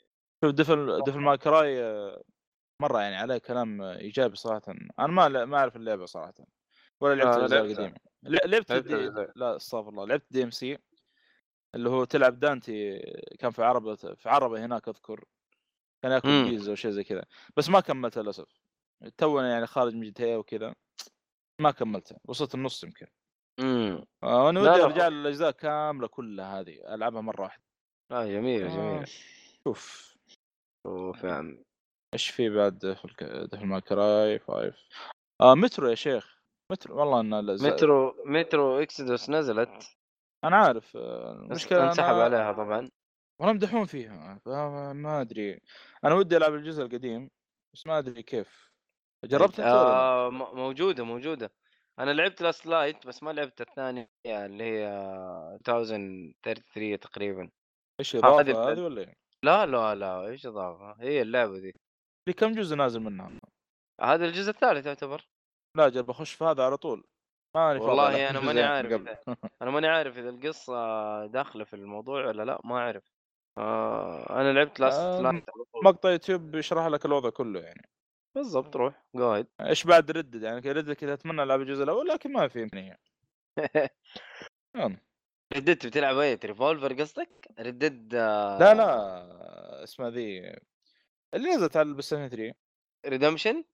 شوف ديفل ديفل ماي كراي آه، مره يعني عليه كلام آه، ايجابي صراحه انا ما لا- ما اعرف اللعبه صراحه ولا لعبت
أنا
الاجزاء
لعبتها.
القديمه ل- لعبت
لعبت
دي...
الأجزاء.
لا استغفر الله لعبت دي ام سي اللي هو تلعب دانتي كان في عربه في عربه هناك اذكر كان ياكل
مم.
بيتزا وشيء زي كذا بس ما كملتها للاسف تو يعني خارج من جي وكذا ما كملتها وصلت النص يمكن
امم
آه، انا
لا،
ودي
لا.
ارجع للاجزاء كامله كلها هذه العبها مره واحده
لا جميل
آه،
جميل
شوف
اوف يا عمي
ايش في بعد ديفل ديفل ماي كراي 5 آه مترو يا شيخ مترو والله ان الأجزاء-
مترو مترو اكسدوس نزلت
انا عارف آه، المشكله
انسحب
أنا...
عليها طبعا
والله مدحون فيها فما- ما ادري انا ودي العب الجزء القديم بس ما ادري كيف جربت انت ولا لا؟
إيه، آه م- موجوده موجوده انا لعبت لاست لايت بس ما لعبت الثانيه اللي هي eh, 1033 تقريبا
ايش
هذه-
اضافه هذه ولا إيه؟
لا لا لا ايش اضافه هي اللعبه دي
لي كم جزء نازل منها
هذا الجزء الثالث يعتبر
لا جرب اخش في هذا على طول ما
والله أنا ماني عارف انا ماني عارف اذا القصه داخله في الموضوع ولا لا ما اعرف آه انا لعبت لاست
آه،
لايت
مقطع يوتيوب يشرح لك الوضع كله يعني
بالضبط روح قاعد
ايش بعد ردد يعني ردد كذا اتمنى العب الجزء الاول لكن ما في امكانيه يلا.
رددت بتلعب اي ريفولفر قصدك؟ ردد
لا لا اسمها ذي اللي نزلت على البلاي ستيشن 3
ريدمشن؟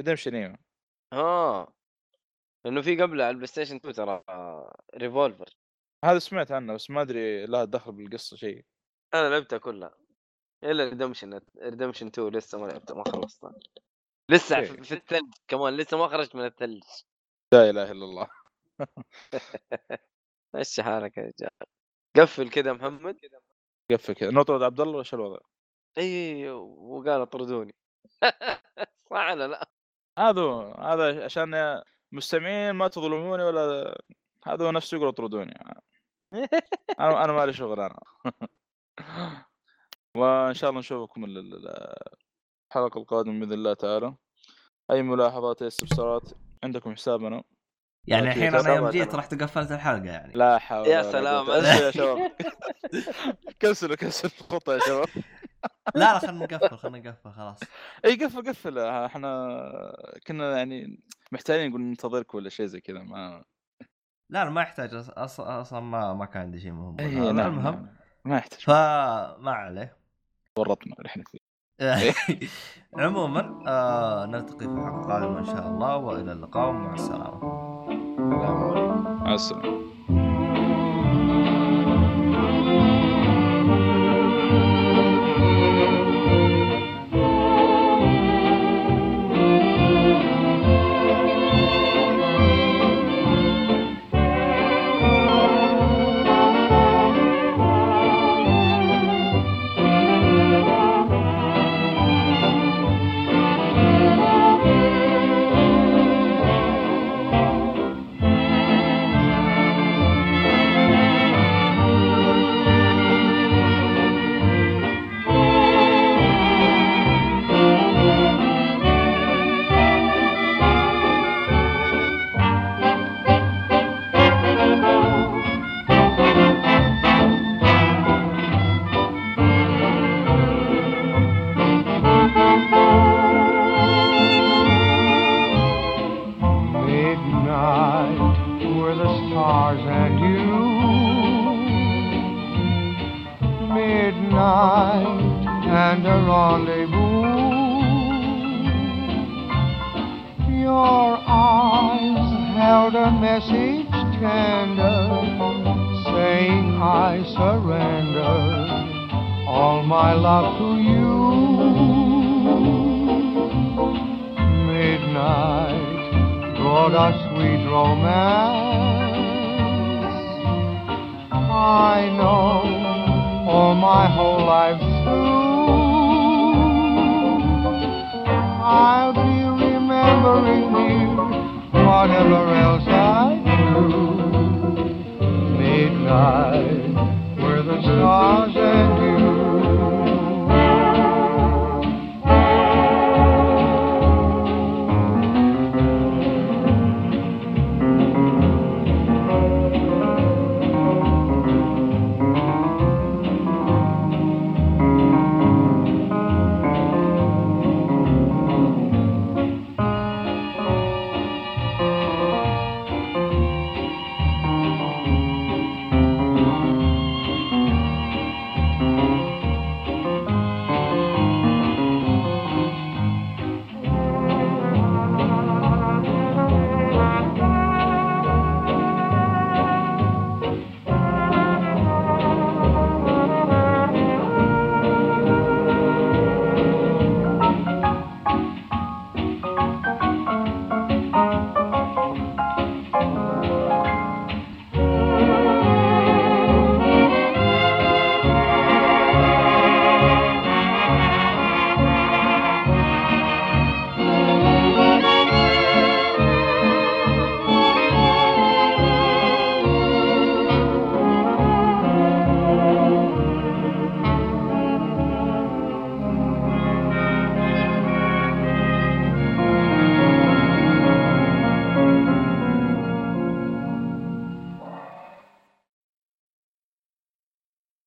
ريدمشن ايوه
اه لانه في قبله على البلاي ستيشن 2 ترى ريفولفر
هذا سمعت عنه بس ما ادري لها دخل بالقصه شيء
انا لعبتها كلها الا ريدمشن ريدمشن 2 لسه ما لعبتها ما خلصتها لسه
أوكي.
في في الثلج كمان لسه ما خرجت من الثلج
لا اله الا الله
مشي حالك يا رجال قفل كذا محمد
قفل كذا نطرد عبد الله وش الوضع؟
اي إيه، وقال اطردوني صح ولا لا؟
هذا هو، هذا عشان مستمعين ما تظلموني ولا هذا هو نفسه يقول اطردوني انا انا مالي شغل انا وان شاء الله نشوفكم ال- ال- الحلقه القادمه باذن الله تعالى اي ملاحظات اي استفسارات عندكم حسابنا
يعني
أكيد.
الحين انا يوم
طبعاً.
جيت رحت وقفلت الحلقه يعني
لا حول
يا
ولا قوة.
سلام.
انسوا يا شباب كنسلوا كنسلوا الخطه يا شباب
لا لا خلينا نقفل خلينا نقفل خلاص
اي قفل قفل احنا كنا يعني محتاجين نقول ننتظرك ولا شيء زي كذا ما
لا لا ما يحتاج أص- أص- اصلا ما ما كان عندي شيء مهم
إي،
الآن.
نعم،
المهم
نعم. ما يحتاج
فما عليه
ورطنا نحن فيه إيه.
عموما آه نلتقي في حلقه قادمه ان شاء الله والى اللقاء ومع السلامه
السلام عليكم
مع السلامه
Midnight were the stars and you. Midnight and a rendezvous. Your eyes held a message tender, saying I surrender. all my love to you. Midnight brought a sweet romance. I know all my whole life through. I'll be remembering you, whatever else I do. Midnight